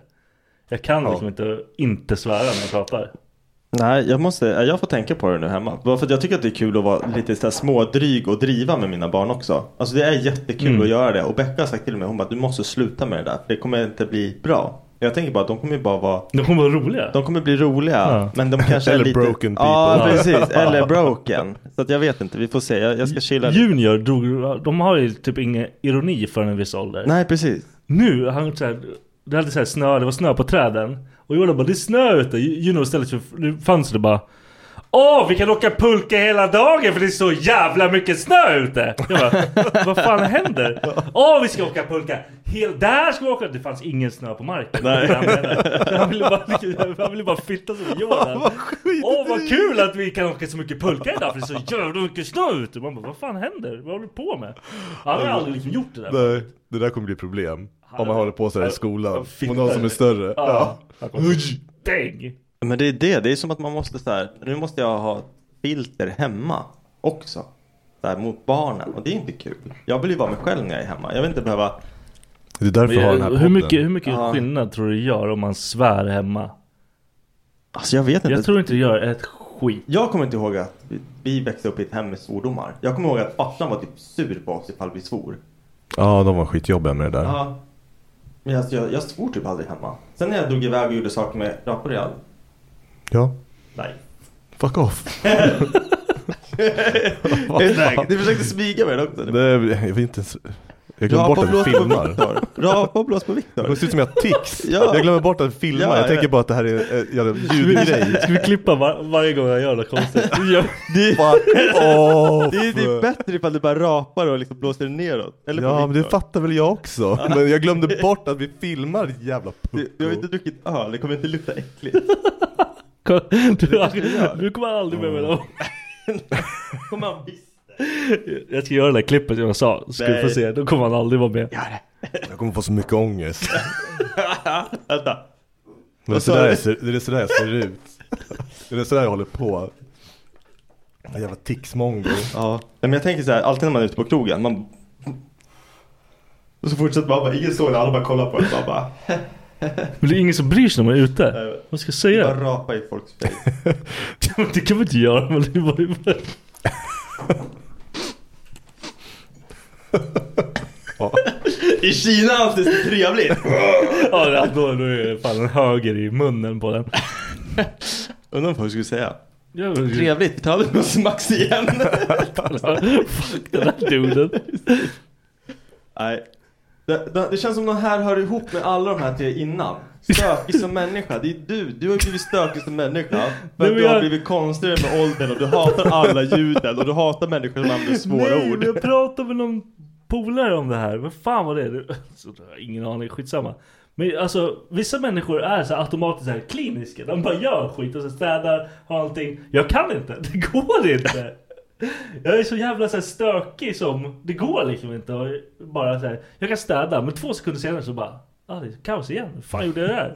Speaker 3: Jag kan liksom inte, inte svära när jag pratar.
Speaker 5: Nej, jag måste, eh, jag får tänka på det nu hemma. Bara för att jag tycker att det är kul att vara lite så här smådryg och driva med mina barn också.
Speaker 6: Mm.
Speaker 5: Alltså det är jättekul att göra det. Och Becka har sagt till mig, hon bara, du måste sluta med det där. För det kommer inte bli bra. Jag tänker bara att de kommer ju bara vara...
Speaker 3: De kommer vara roliga.
Speaker 5: De kommer bli roliga. Men de kanske
Speaker 6: Eller
Speaker 5: är lite...
Speaker 6: broken
Speaker 5: Ja,
Speaker 6: people.
Speaker 5: precis. Eller broken. Så att jag vet inte. Vi får se. Jag, jag ska chilla lite.
Speaker 3: Junior drog, de har ju typ ingen ironi för en viss ålder.
Speaker 5: Nej, precis.
Speaker 3: Nu, han så här, det hade så här snö, det var snö på träden. Och Jordan bara, det är snö ute. Juno ställde sig för fönstret och bara Åh, vi kan åka pulka hela dagen för det är så jävla mycket snö ute! Jag bara, vad fan händer? Åh, vi ska åka pulka! Hel, där ska vi åka! Det fanns ingen snö på marken.
Speaker 5: Nej.
Speaker 3: Han menade. Han ville bara, han ville bara fitta som Jordan. Åh, vad kul att vi kan åka så mycket pulka idag för det är så jävla mycket snö ute! Man bara, vad fan händer? Vad håller du på med? Han har ju aldrig liksom gjort det där.
Speaker 6: Nej, det där kommer bli problem. Om man håller på sådär i skolan.
Speaker 3: fitta.
Speaker 6: Och någon som är större. Ja.
Speaker 3: Ja. Däng!
Speaker 5: Men det är det. Det är som att man måste så här. Nu måste jag ha filter hemma också. Så här, mot barnen. Och det är inte kul. Jag vill ju vara mig själv när jag är hemma. Jag vill inte behöva...
Speaker 6: Det är därför jag har den här podden.
Speaker 3: Hur mycket, hur mycket
Speaker 5: Ja.
Speaker 3: skillnad tror du det gör om man svär hemma?
Speaker 5: Alltså jag vet inte.
Speaker 3: Jag tror inte det gör ett skit.
Speaker 5: Jag kommer inte ihåg att vi- vi växte upp i ett hem med svordomar. Jag kommer ihåg att farsan var typ sur på oss ifall vi svor.
Speaker 6: Ja, de var skitjobbiga med det där.
Speaker 5: Ja. Men alltså, jag, jag svor typ aldrig hemma. Sen när jag drog iväg och gjorde saker med rapor jag...
Speaker 6: Ja.
Speaker 5: Nej.
Speaker 6: Fuck off.
Speaker 5: Ni försökte smyga med det också.
Speaker 6: Det, jag vill inte ens... Jag glömmer bort att vi filmar.
Speaker 5: Viktor. Rapa och blås på Viktor.
Speaker 6: Det ser ut som jag har tics.
Speaker 5: Ja.
Speaker 6: Jag glömmer bort att filma.
Speaker 5: Ja,
Speaker 6: jag
Speaker 5: jag
Speaker 6: tänker
Speaker 5: vet.
Speaker 6: bara att det här är en jävla ljudgrej.
Speaker 3: Ska vi klippa var, varje gång jag gör något konstigt? Jag,
Speaker 5: Det,
Speaker 6: Fuck off.
Speaker 5: det, är, det är bättre ifall du bara rapar och liksom blåser neråt. Eller på
Speaker 6: alltså. Ja, men det
Speaker 5: Viktor.
Speaker 6: fattar väl jag också. Men jag glömde bort att vi filmar ditt jävla
Speaker 5: Du-
Speaker 6: pucko.
Speaker 5: Du har inte druckit öl, det kommer inte lukta äckligt.
Speaker 3: du, du kommer aldrig med mig då.
Speaker 5: kommer han visst.
Speaker 3: Jag ska göra det där klippet jag sa. Ska du få
Speaker 5: Nej.
Speaker 3: se. Då kommer han aldrig vara med.
Speaker 6: Jag kommer få så mycket ångest.
Speaker 5: Vänta.
Speaker 6: Men det är,
Speaker 5: sa
Speaker 6: sådär
Speaker 5: du?
Speaker 6: jag ser, det är sådär jag ser ut. Det är sådär jag håller på. En jävla ticsmongo.
Speaker 5: Ja. Nej, men jag tänker så här, alltid när man är ute på krogen, man... Och så fortsätter man bara, ingen såg det, alla bara kollar på en bara, bara,
Speaker 3: Men det är ingen som bryr sig när man är ute. Vad ska jag säga?
Speaker 5: bara rapa i folks face.
Speaker 3: Det kan man inte göra. Men det var ju
Speaker 5: I Kina anses det trevligt!
Speaker 3: ja, då, då är det fan en höger i munnen på den.
Speaker 5: Undrar vad jag skulle säga.
Speaker 3: Jag vill-
Speaker 5: Trevligt, ta det med Max igen!
Speaker 3: Fuck den där duden.
Speaker 5: Nej. Det, det, det känns som de här hör ihop med alla de här tre innan. Stökig som människa, det är du. Du har ju blivit stökig som människa.
Speaker 3: men
Speaker 5: För att du har
Speaker 3: jag-
Speaker 5: blivit konstigare med åldern och du hatar alla ljuden och du hatar människor som använder svåra
Speaker 3: Nej,
Speaker 5: ord.
Speaker 3: men jag pratade med någon polare om det här. Vad fan var det? Det- Så, jag har ingen aning, skitsamma. Men alltså vissa människor är så här automatiskt så här kliniska. De bara gör skit och så städar, har allting. Jag kan inte, det går inte. Jag är så jävla så här stökig som, det går liksom inte. Och bara så här, jag kan städa men två sekunder senare så bara, ja ah, det är kaos igen. Hur fan gjorde jag det där?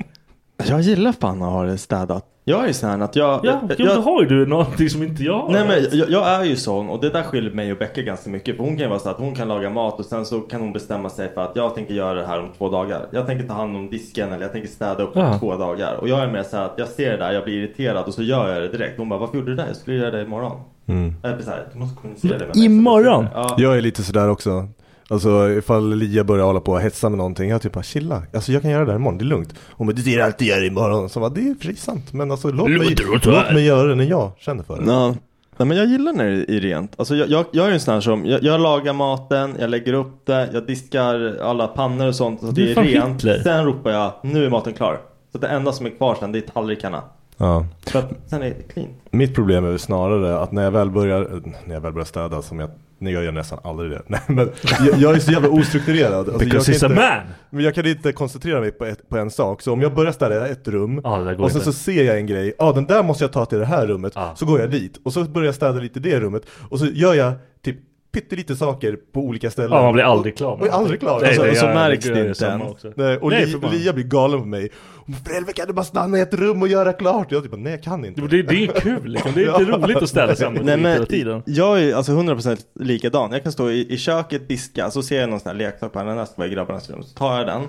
Speaker 5: Jag gillar fan att ha det städat. Jag är sån att jag...
Speaker 3: Ja,
Speaker 5: jag,
Speaker 3: jo,
Speaker 5: jag
Speaker 3: då har ju du någonting som inte jag har.
Speaker 5: Nej men jag, jag är ju sån och det där skiljer mig och Becka ganska mycket. För hon kan ju vara så att hon kan laga mat och sen så kan hon bestämma sig för att jag tänker göra det här om två dagar. Jag tänker ta hand om disken eller jag tänker städa upp om
Speaker 3: Ja.
Speaker 5: två dagar. Och jag är mer så här att jag ser det där, jag blir irriterad och så gör jag det direkt. Hon bara, varför gjorde du det där? Jag skulle göra det imorgon. Mm. Jag blir så här, du måste kommunicera det med mig.
Speaker 3: Imorgon?
Speaker 5: Ja.
Speaker 6: Jag är lite sådär också. Alltså ifall Lia börjar hålla på och hetsa med någonting. Jag typ bara chilla. Alltså jag kan göra det här imorgon, det är lugnt. Hon bara du ser alltid göra det imorgon. Så jag bara, det är precis sant. Men alltså låt mig,
Speaker 3: Låter det så här?
Speaker 6: låt mig göra det när jag känner för det.
Speaker 5: Ja. Nej men jag gillar när det är rent. Alltså jag, jag, jag är ju en sån här som, jag, jag lagar maten, jag lägger upp det, jag diskar alla pannor och sånt så att
Speaker 3: Du är
Speaker 5: det är
Speaker 3: fan
Speaker 5: rent.
Speaker 3: Hitler.
Speaker 5: Sen ropar jag, nu är maten klar. Så att det enda som är kvar sen det är tallrikarna.
Speaker 6: Ja.
Speaker 5: För
Speaker 3: Mm.
Speaker 5: att sen är det clean.
Speaker 6: Mitt problem är väl snarare att när jag väl börjar, eh, när jag väl börjar städa som jag, nej jag gör nästan aldrig det. Nej, men jag, jag är så jävla ostrukturerad. Alltså, jag
Speaker 3: Because
Speaker 6: kan
Speaker 3: he's a
Speaker 6: inte-
Speaker 3: man!
Speaker 6: Men jag kan inte koncentrera mig på, ett, på en sak. Så om jag börjar städa ett rum
Speaker 3: Ja, det där går
Speaker 6: och sen
Speaker 3: inte.
Speaker 6: så ser jag en grej. Ja, den där måste jag ta till det här rummet.
Speaker 3: Ja.
Speaker 6: Så går jag dit och så börjar jag städa lite i det rummet. Och så gör jag typ pyttelite saker på olika ställen.
Speaker 3: Ja, man blir aldrig klar
Speaker 6: Och jag är aldrig klar.
Speaker 3: Nej,
Speaker 6: Alltså,
Speaker 3: nej,
Speaker 6: och så
Speaker 3: jag-
Speaker 5: märks
Speaker 3: jag
Speaker 5: det
Speaker 3: gör
Speaker 5: inte
Speaker 3: samma
Speaker 5: ens.
Speaker 3: också.
Speaker 6: Nej, och
Speaker 3: Nej,
Speaker 6: Li,
Speaker 3: för fan.
Speaker 6: Lia blir galen på mig. Hon bara, "För helvete, kan du bara stanna i ett rum och göra klart? Jag typ bara, nej jag kan inte.
Speaker 3: Jo, Det, det är kul liksom. Det är inte roligt att ställa sig mot
Speaker 5: Nej men
Speaker 3: hela tiden.
Speaker 5: jag är alltså 100% likadan. Jag kan stå i, i köket, diska, så ser jag någon sån här leksak på den här ska vara i grabbarnas rum. Så tar jag den,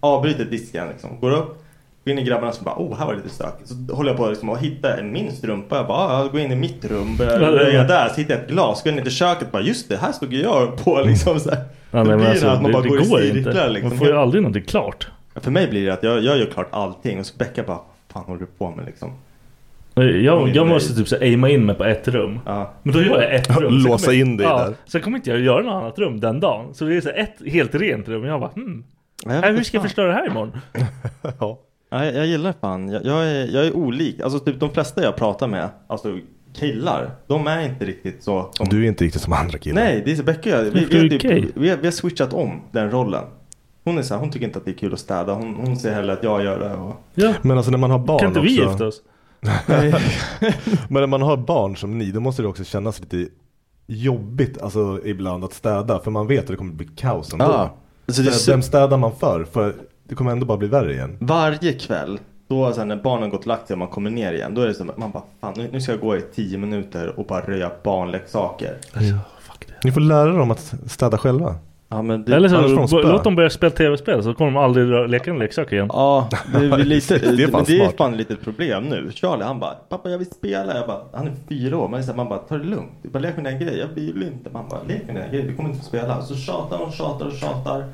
Speaker 5: avbryter disken liksom, går upp, går in i grabbarnas rum bara oh här var det lite stökigt. Så håller jag på liksom, att hitta en min strumpa. Jag bara ah, jag går in i mitt rum, börjar
Speaker 3: Ja, det är
Speaker 5: röja
Speaker 3: det.
Speaker 5: där, så hittar jag ett glas, går in i köket bara just det här stod ju jag på liksom så här.
Speaker 3: Ja,
Speaker 5: det
Speaker 3: nej, men
Speaker 5: blir
Speaker 3: alltså,
Speaker 5: att man
Speaker 3: det,
Speaker 5: bara
Speaker 3: det
Speaker 5: går i
Speaker 3: går
Speaker 5: cirklar
Speaker 3: inte.
Speaker 5: liksom.
Speaker 3: Man får ju aldrig någonting klart.
Speaker 5: För mig blir det att jag, jag gör klart allting och så Becka bara, fan håller du på med liksom?
Speaker 3: Jag, jag måste typ så här aima in mig på ett rum. Men då gör jag ett rum. Sen
Speaker 6: Låsa
Speaker 3: kommer-
Speaker 6: in dig
Speaker 3: ja,
Speaker 6: där.
Speaker 3: Sen kommer inte jag göra något annat rum den dagen. Så det är så här ett helt rent rum. Och jag bara hmm.
Speaker 5: vet
Speaker 3: Äh, hur
Speaker 5: inte
Speaker 3: ska jag
Speaker 5: fan.
Speaker 3: förstöra det här imorgon?
Speaker 6: Ja.
Speaker 5: Ja, jag, jag gillar fan, jag, jag, är, jag är olik. Alltså typ de flesta jag pratar med, alltså killar, de är inte riktigt så. Som...
Speaker 6: Du är inte riktigt som andra killar.
Speaker 5: Nej, det är Becka och jag. Vi,
Speaker 3: Varför
Speaker 5: vi,
Speaker 3: är
Speaker 5: har
Speaker 3: du gay?
Speaker 5: typ, vi, har, vi har switchat om den rollen. Hon är så här, hon tycker inte att det är kul att städa. Hon, hon ser hellre att jag gör det. Och...
Speaker 3: Ja.
Speaker 6: Men alltså när man har barn
Speaker 3: Kan inte vi
Speaker 6: också,
Speaker 3: gifta oss?
Speaker 6: Men när man har barn som ni, då måste det också kännas lite jobbigt alltså, ibland att städa. För man vet att det kommer bli kaos ändå.
Speaker 5: Ja. Alltså, det är
Speaker 6: Men
Speaker 5: så-
Speaker 6: Vem städar man för? För det kommer ändå bara bli värre igen.
Speaker 5: Varje kväll, då sen när barnen gått och lagt sig och man kommer ner igen, då är det som man bara fan nu, nu ska jag gå i tio minuter och bara röja barnleksaker.
Speaker 6: Ni får lära dem att städa själva.
Speaker 5: Ja men det,
Speaker 3: Eller så,
Speaker 6: annars får de
Speaker 3: bo-
Speaker 6: spö.
Speaker 3: låt dem börja spela tv-spel så kommer de aldrig rö- leka en leksak igen.
Speaker 5: Ja, det är, väl lite,
Speaker 6: Det är fan
Speaker 5: men det är
Speaker 6: smart.
Speaker 5: fan lite problem nu. Charlie han bara, pappa jag vill spela. Jag bara, han är fyra år. Men så här, man bara, ta det lugnt. Du bara, lek med dina grejer. Jag vill inte. Man bara, lek med dina grejer. Du kommer inte få spela. Så tjatar och tjatar och tjatar.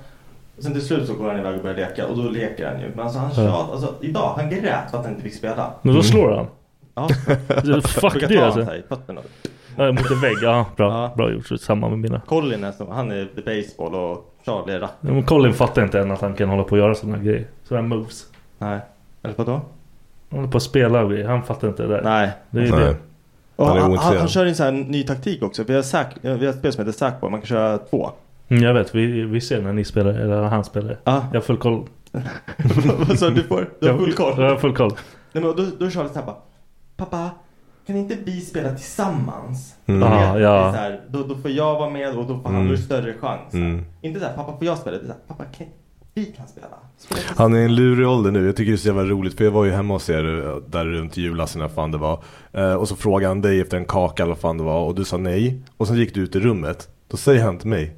Speaker 5: Och sen till slut så går han iväg och börjar leka. Och då leker han ju. Men alltså han tjatar. Alltså idag, han grät för att han inte fick spela.
Speaker 3: Men då slår han.
Speaker 5: Ja,
Speaker 3: Fuck
Speaker 5: brukar
Speaker 3: det
Speaker 5: ta
Speaker 3: alltså.
Speaker 5: han så här i fötterna.
Speaker 3: Ja, Mot en vägg. Ja, bra,
Speaker 5: Ja.
Speaker 3: bra gjort. Så Samma med mina.
Speaker 5: Colin är som, han är the baseball och Charlie är rack.
Speaker 3: Ja, Men Colin fattar inte än att han kan hålla på och göra sådana grejer. Sådana moves.
Speaker 5: Nej. Eller vadå?
Speaker 3: Han håller på att spela och grejer. Han fattar inte det där.
Speaker 5: Nej.
Speaker 3: Det är ju
Speaker 6: Nej.
Speaker 3: det.
Speaker 5: Och
Speaker 6: Han är
Speaker 5: han, han,
Speaker 6: ointresserad.
Speaker 5: han kör en sån här ny taktik också. Vi har, sack, vi har ett spel som heter Sackboy. Man kan köra två.
Speaker 3: Mm, Jag vet, vi, vi ser när ni spelar, eller när han spelar.
Speaker 5: Ja.
Speaker 3: Jag har full koll.
Speaker 5: så du får du har full koll.
Speaker 3: Jag har full koll.
Speaker 5: Nej, men då, då är Charlie såhär bara. Pappa, kan inte vi spela tillsammans?
Speaker 6: Mm.
Speaker 5: Då vet
Speaker 3: Ja,
Speaker 5: vi
Speaker 3: ja.
Speaker 5: Så här, då, då får jag vara med och då får han
Speaker 6: Mm.
Speaker 5: mm. större chans.
Speaker 6: Mm.
Speaker 5: Inte såhär, pappa får jag spela? Det är så här, pappa, kan, vi kan spela. spela
Speaker 6: Han är i en lurig ålder nu. Jag tycker det är så jävla roligt. För jag var ju hemma hos er eh, där runt julassen när fan det var. Eh, och så frågade han dig efter en kaka eller vad fan det var. Och du sa nej. Och sen gick du ut i rummet. Då säger han till mig.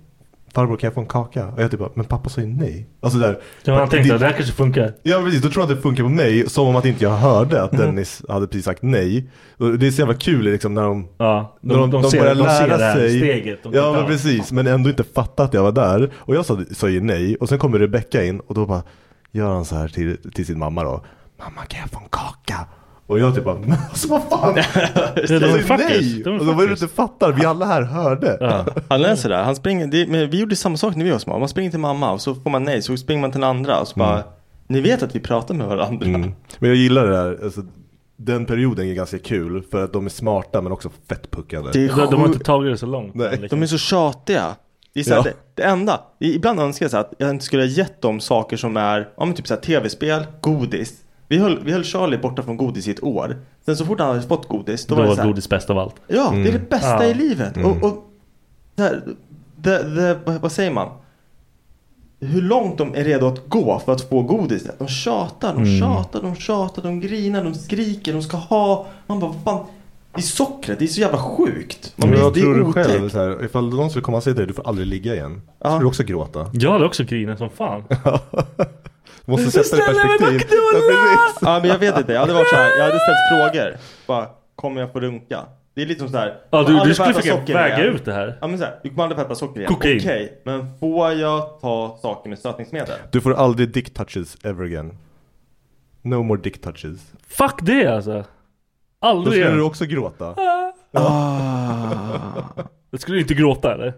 Speaker 6: Farbror kan jag få en kaka? Och jag typ bara, men pappa sa ju nej. Alltså där.
Speaker 3: Ja, han tänkte
Speaker 6: Det-
Speaker 3: att det här kanske funkar.
Speaker 6: Ja precis, då tror jag att det funkar på mig som om att inte jag hörde att
Speaker 3: Mm.
Speaker 6: Dennis hade precis sagt nej. Och Det är så jävla kul liksom när de,
Speaker 3: Ja,
Speaker 6: när de, de, börjar lära
Speaker 3: det här
Speaker 6: sig.
Speaker 3: steget. De
Speaker 6: ja
Speaker 3: kan
Speaker 6: men
Speaker 3: ta.
Speaker 6: precis, men ändå inte fatta att jag var där. Och jag sa, sa ju nej och sen kommer Rebecca in och då bara gör han så här till, till sin mamma då. Mamma kan jag få en kaka? Och jag typ bara, men alltså vad fan?
Speaker 3: Ja, de
Speaker 6: Jag
Speaker 3: är
Speaker 6: sa ju
Speaker 3: fuckers.
Speaker 6: nej!
Speaker 3: De är
Speaker 6: Och då var det du
Speaker 3: fuckers.
Speaker 6: inte fattar, vi alla här hörde.
Speaker 3: Ja.
Speaker 5: Han är sådär, han springer, det, men vi gjorde samma sak när vi var små. Man springer till mamma och så får man nej, så springer man till den andra och så bara, ni vet att vi pratar med varandra.
Speaker 6: Mm. Men jag gillar det där, alltså, den perioden är ganska kul för att de är smarta men också fett puckade.
Speaker 5: Det är
Speaker 3: De, de har
Speaker 5: sjukt.
Speaker 3: inte tagit det så långt. Liksom.
Speaker 6: Nej.
Speaker 5: De är så tjatiga. Det, är så här,
Speaker 6: Ja.
Speaker 5: det, det enda, i- ibland önskar jag så här att jag inte skulle ha gett dem saker som är, ja men typ så här tv-spel, godis. Vi höll, vi höll Charlie borta från godis i ett år. Sen så fort han hade fått godis, då,
Speaker 3: Då
Speaker 5: var det
Speaker 3: var
Speaker 5: så här,
Speaker 3: godis bäst av allt.
Speaker 5: Ja, det är det bästa
Speaker 3: Ja.
Speaker 5: i livet.
Speaker 6: Mm.
Speaker 5: Och, och det här, det, det, vad- vad säger man? Hur långt de är redo att gå för att få godiset. De tjatar, de
Speaker 3: Mm.
Speaker 5: tjatar, de tjatar, de grinar, de skriker, de ska ha. Man bara, vad fan. Det är sockret, det är så jävla sjukt. Man
Speaker 6: Men
Speaker 3: Mm.
Speaker 5: blir,
Speaker 6: jag
Speaker 5: det är
Speaker 6: tror du
Speaker 5: otäckt.
Speaker 6: själv, så här, ifall någon skulle komma och säga till dig, du får aldrig ligga igen.
Speaker 5: Ja.
Speaker 6: Skulle du också gråta?
Speaker 3: Jag hade också grinat som fan.
Speaker 6: Du måste sätta det i perspektiv.
Speaker 5: Ja men jag vet inte, jag hade varit så här, jag hade ställt frågor. Bara, kommer jag få runka? Det är lite som så här.
Speaker 3: Ja,
Speaker 5: kommer
Speaker 3: du, du
Speaker 5: aldrig få
Speaker 3: skulle
Speaker 5: äta
Speaker 3: försöka
Speaker 5: socker
Speaker 3: väga
Speaker 5: igen.
Speaker 3: ut det här.
Speaker 5: Ja men såhär, du kommer aldrig få äta socker igen. Okej,
Speaker 3: Kokain.
Speaker 5: men får jag ta saker med sötningsmedel?
Speaker 6: Du får aldrig dick touches ever again. No more dick touches.
Speaker 3: Fuck det alltså.
Speaker 6: Då
Speaker 3: Aldrig
Speaker 6: skulle
Speaker 3: igen.
Speaker 6: du också gråta.
Speaker 3: Ah. Det skulle du inte gråta eller?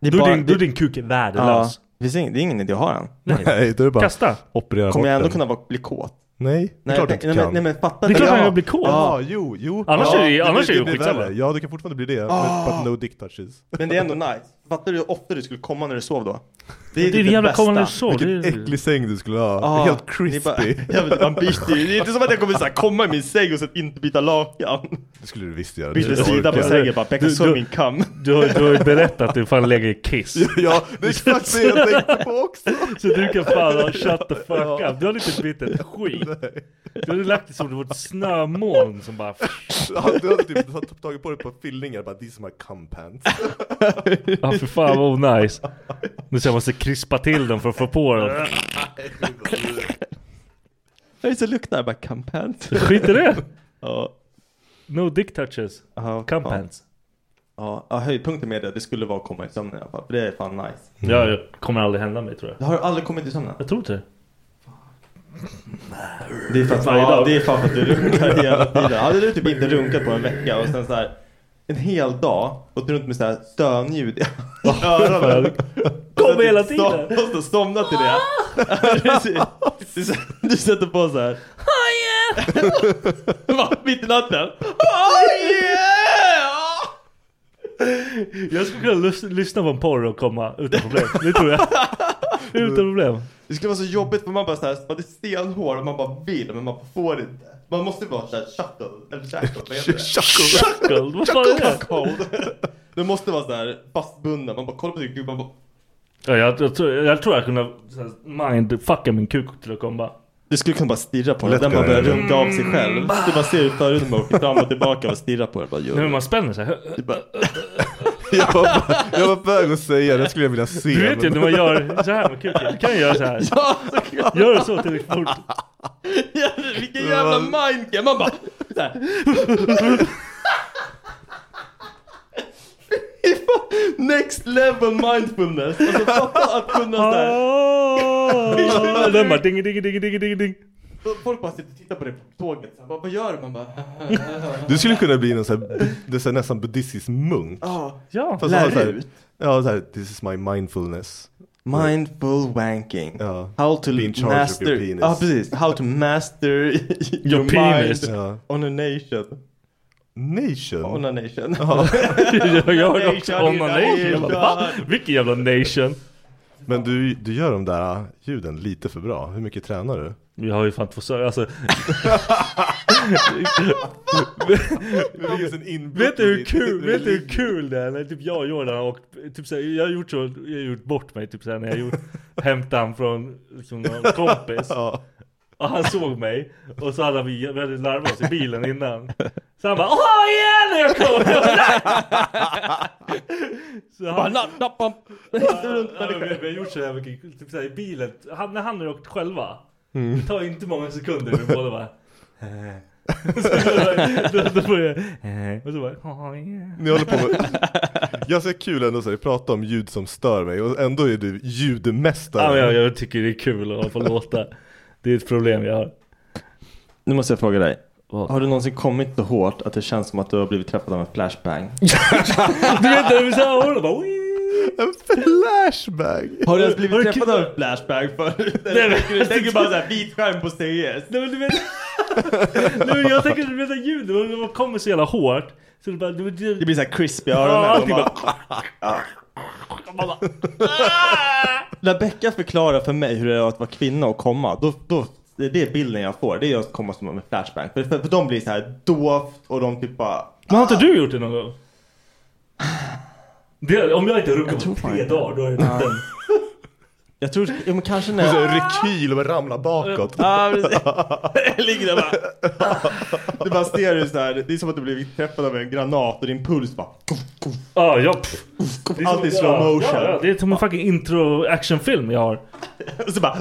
Speaker 5: Det
Speaker 3: Då är din,
Speaker 5: det-
Speaker 3: då är din kuk
Speaker 5: ja,
Speaker 3: värdelös.
Speaker 5: det finns ingen- det är ingen idé att ha den.
Speaker 6: Nej, då är det bara
Speaker 3: Kasta.
Speaker 6: operera
Speaker 5: Kommer
Speaker 6: bort
Speaker 5: jag ändå
Speaker 6: den.
Speaker 5: kunna vara, bli kåt?
Speaker 6: Nej, det är
Speaker 5: Nej,
Speaker 6: klart du
Speaker 5: nej,
Speaker 6: inte
Speaker 5: nej,
Speaker 6: kan.
Speaker 5: men- nej men fatta
Speaker 3: Det är klart
Speaker 5: Ja.
Speaker 3: han blir kåt.
Speaker 6: Ja, jo, jo.
Speaker 3: Annars
Speaker 6: ja,
Speaker 3: är det- annars är det ju
Speaker 6: blir
Speaker 3: skitsamma.
Speaker 6: värre. Ja, du kan fortfarande bli det. Men but no dick touches.
Speaker 5: Ah. Men det är ändå nice. Fattar du hur ofta du skulle komma när du sov då? typ
Speaker 3: Det är det jävla kommande så. Det
Speaker 6: Vilken
Speaker 3: är...
Speaker 6: äcklig säng du skulle ha.
Speaker 5: Ah,
Speaker 6: Helt
Speaker 5: det är bara-
Speaker 6: crispy.
Speaker 5: Jag vet, man byter ju. Det är inte som att jag kommer så här komma i min säng och sen inte byta lakan.
Speaker 6: Det skulle du visst göra.
Speaker 5: Byter
Speaker 6: Det skulle
Speaker 5: sida
Speaker 6: du
Speaker 5: på
Speaker 6: orka.
Speaker 5: sängen bara, Pekka
Speaker 3: Du-
Speaker 5: så
Speaker 3: du-
Speaker 5: min kam.
Speaker 3: Du, har, du har ju berättat att du fan lägger i kiss.
Speaker 6: Ja, det är exakt det jag tänkte på också.
Speaker 3: Så du kan fan ha shut the fuck up. Du har inte bytt ett skit. Du har lagt dig som det var ett snömoln som bara...
Speaker 6: Han du hade typ han hade tagit på dig på fyllningar bara these are my cum pants.
Speaker 3: Ja för fan vad onajs. Nu så jag måste krispa till dem för att få på dem.
Speaker 5: Jag är så luktar jag bara kampant.
Speaker 3: Skit i det.
Speaker 5: Ja,
Speaker 3: No dick touches.
Speaker 5: ja,
Speaker 3: Cum pants.
Speaker 5: Ja, ja, höjdpunkten med det, det skulle vara att komma i sömnen i alla fall. För det är fan nice.
Speaker 3: Ja, det kommer aldrig hända mig tror jag.
Speaker 5: Jag har aldrig kommit i sömnen.
Speaker 3: Jag tror inte det.
Speaker 5: Det är för att,
Speaker 3: Varje
Speaker 5: ja,
Speaker 3: dag.
Speaker 5: det är fan för att du runkar hela tiden. Hade du typ inte runkat på en vecka och sen så här en hel dag gått runt med så här stönljud i typ öronen.
Speaker 3: Kommer hela
Speaker 5: Som-
Speaker 3: tiden.
Speaker 5: Måste somna till det. Precis. Du, s- du sätter på så här. Va? Mitt i natten.
Speaker 3: Jag skulle kunna lys- lyssna på en porr och komma utan problem. Det tror jag. utan problem.
Speaker 5: Det skulle vara så jobbigt för man bara så här, man är stenhård och man bara vill men man får inte. Man måste vara såhär shuttle, eller shackle, vad heter det?
Speaker 3: Chuckled? Vad fan är det?
Speaker 5: Cold. Du måste vara såhär fastbunden, man bara kollar på sin gubbe, man bara
Speaker 3: Ja, jag, jag, tror, jag tror jag kunde så här, mindfucka min kuk till att komma.
Speaker 5: Du skulle kunna bara stirra på den.
Speaker 6: Lätt
Speaker 5: Den bara
Speaker 6: kunna
Speaker 5: börjar
Speaker 6: göra det.
Speaker 5: runka av sig själv. Du bara ser ut förut och åker fram och tillbaka och stirrar på den. Bara, gör
Speaker 3: Nej, men
Speaker 5: det.
Speaker 3: man spänner sig.
Speaker 5: Du bara,
Speaker 6: Jag var, jag var på väg att säga det, skulle jag vilja se.
Speaker 3: Du vet ju
Speaker 6: men-
Speaker 3: när man gör så här med kuken. Du kan ju göra så här.
Speaker 5: ja, såklart.
Speaker 3: Gör så tillräckligt fort.
Speaker 5: Ja, Vilken jävla mindgame! Man bara såhär. Fy fan, Next level mindfulness! Alltså fatta att kunna såhär.
Speaker 3: Ah, Den bara ding, ding, ding, ding, ding, ding.
Speaker 5: Folk bara sitter och tittar på det på tåget. Så här, bara, vad gör du? Man bara. "Äh,
Speaker 6: Du skulle kunna bli någon sån här, det är så här nästan buddhistisk munk.
Speaker 5: "Ah,
Speaker 3: Ja.
Speaker 6: Fast
Speaker 5: lär
Speaker 6: så här-
Speaker 5: ut."
Speaker 6: Ja, så här, this is my mindfulness.
Speaker 5: äh." Mindful wanking.
Speaker 6: Ja.
Speaker 5: How to
Speaker 6: Be in charge of
Speaker 5: master.
Speaker 6: your penis.
Speaker 5: ah, precis. How to master your,
Speaker 3: penis.
Speaker 5: mind
Speaker 6: Ja.
Speaker 5: on a nation.
Speaker 6: Nation.
Speaker 5: On a nation.
Speaker 3: Jag jag hörde också
Speaker 5: Nation,
Speaker 3: onanation. Jag bara, va?
Speaker 5: nation.
Speaker 3: Vilken jävla nation?
Speaker 6: Men du, du gör de där äh, ljuden lite för bra. Hur mycket tränar du?
Speaker 3: Vi har ju fan två sörjor. Alltså, Vet du hur kul, vet du hur kul det är när typ jag och Jordan har åkt, typ såhär, jag har gjort så, jag har gjort bort mig typ såhär när jag gjort, hämtat han från liksom, någon kompis
Speaker 6: Ja.
Speaker 3: och han såg mig och så hade vi, vi hade larmat oss i bilen innan Så han bara åh igen när jag kommer! Jag bara, "Nej!" Så han, Ja, men vi, vi har gjort så här mycket, typ såhär i bilen, han, när han har åkt själva
Speaker 5: Mm.
Speaker 3: Det tar ju inte många sekunder vi båda bara då, då, då börjar jag, eh, och så bara "Åh, yeah."
Speaker 6: Ni håller på med... Ganska kul ändå så här, prata om ljud som stör mig och ändå är du ljudmästare.
Speaker 3: Ja, men jag, jag tycker det är kul att hålla på och låta. Det är ett problem jag har.
Speaker 5: Nu måste jag fråga dig. Har du någonsin kommit så hårt att det känns som att du har blivit träffad av en flashbang?
Speaker 3: Du vet när vi såhär håller bara "Wii."
Speaker 6: En flashback!
Speaker 5: Har du ens blivit
Speaker 3: Har du
Speaker 5: träffad
Speaker 3: kul-
Speaker 5: av en flashbang förut?
Speaker 3: Nej, men-
Speaker 5: Du tänker bara såhär vit skärm på CS.
Speaker 3: Nej men du vet. Nej, men jag tänker du vet att ljudet, och det kommer så jävla hårt. Så det bara, du vet,
Speaker 5: Det
Speaker 3: det,
Speaker 5: blir såhär crisp i
Speaker 3: Ja,
Speaker 5: öronen. och
Speaker 3: allting
Speaker 5: typ bara-
Speaker 3: bara. Man bara
Speaker 5: När Becka förklarar för mig hur det är att vara kvinna och komma, då, då, det är det bilden jag får. Det är att komma som en flashbang. För, för, för de blir så här dovt och de typ bara...
Speaker 3: Men har inte du gjort det någon gång? Det, om jag inte runkar på
Speaker 5: tror fan
Speaker 3: tre
Speaker 5: inte.
Speaker 3: dagar då har jag gjort den.
Speaker 5: Jag tror, ja, men kanske när...
Speaker 6: Och så en rekyl och bara ramlar bakåt.
Speaker 5: Ja, precis. Jag ligger där bara. Du bara ser hur så här, det är som att du blivit träffad av en granat och din puls bara...
Speaker 3: Ja, ah, ja. pff. Det som-
Speaker 5: Allt i slow motion.
Speaker 3: Ja, ja, det är som en fucking intro actionfilm jag har.
Speaker 5: Och så bara...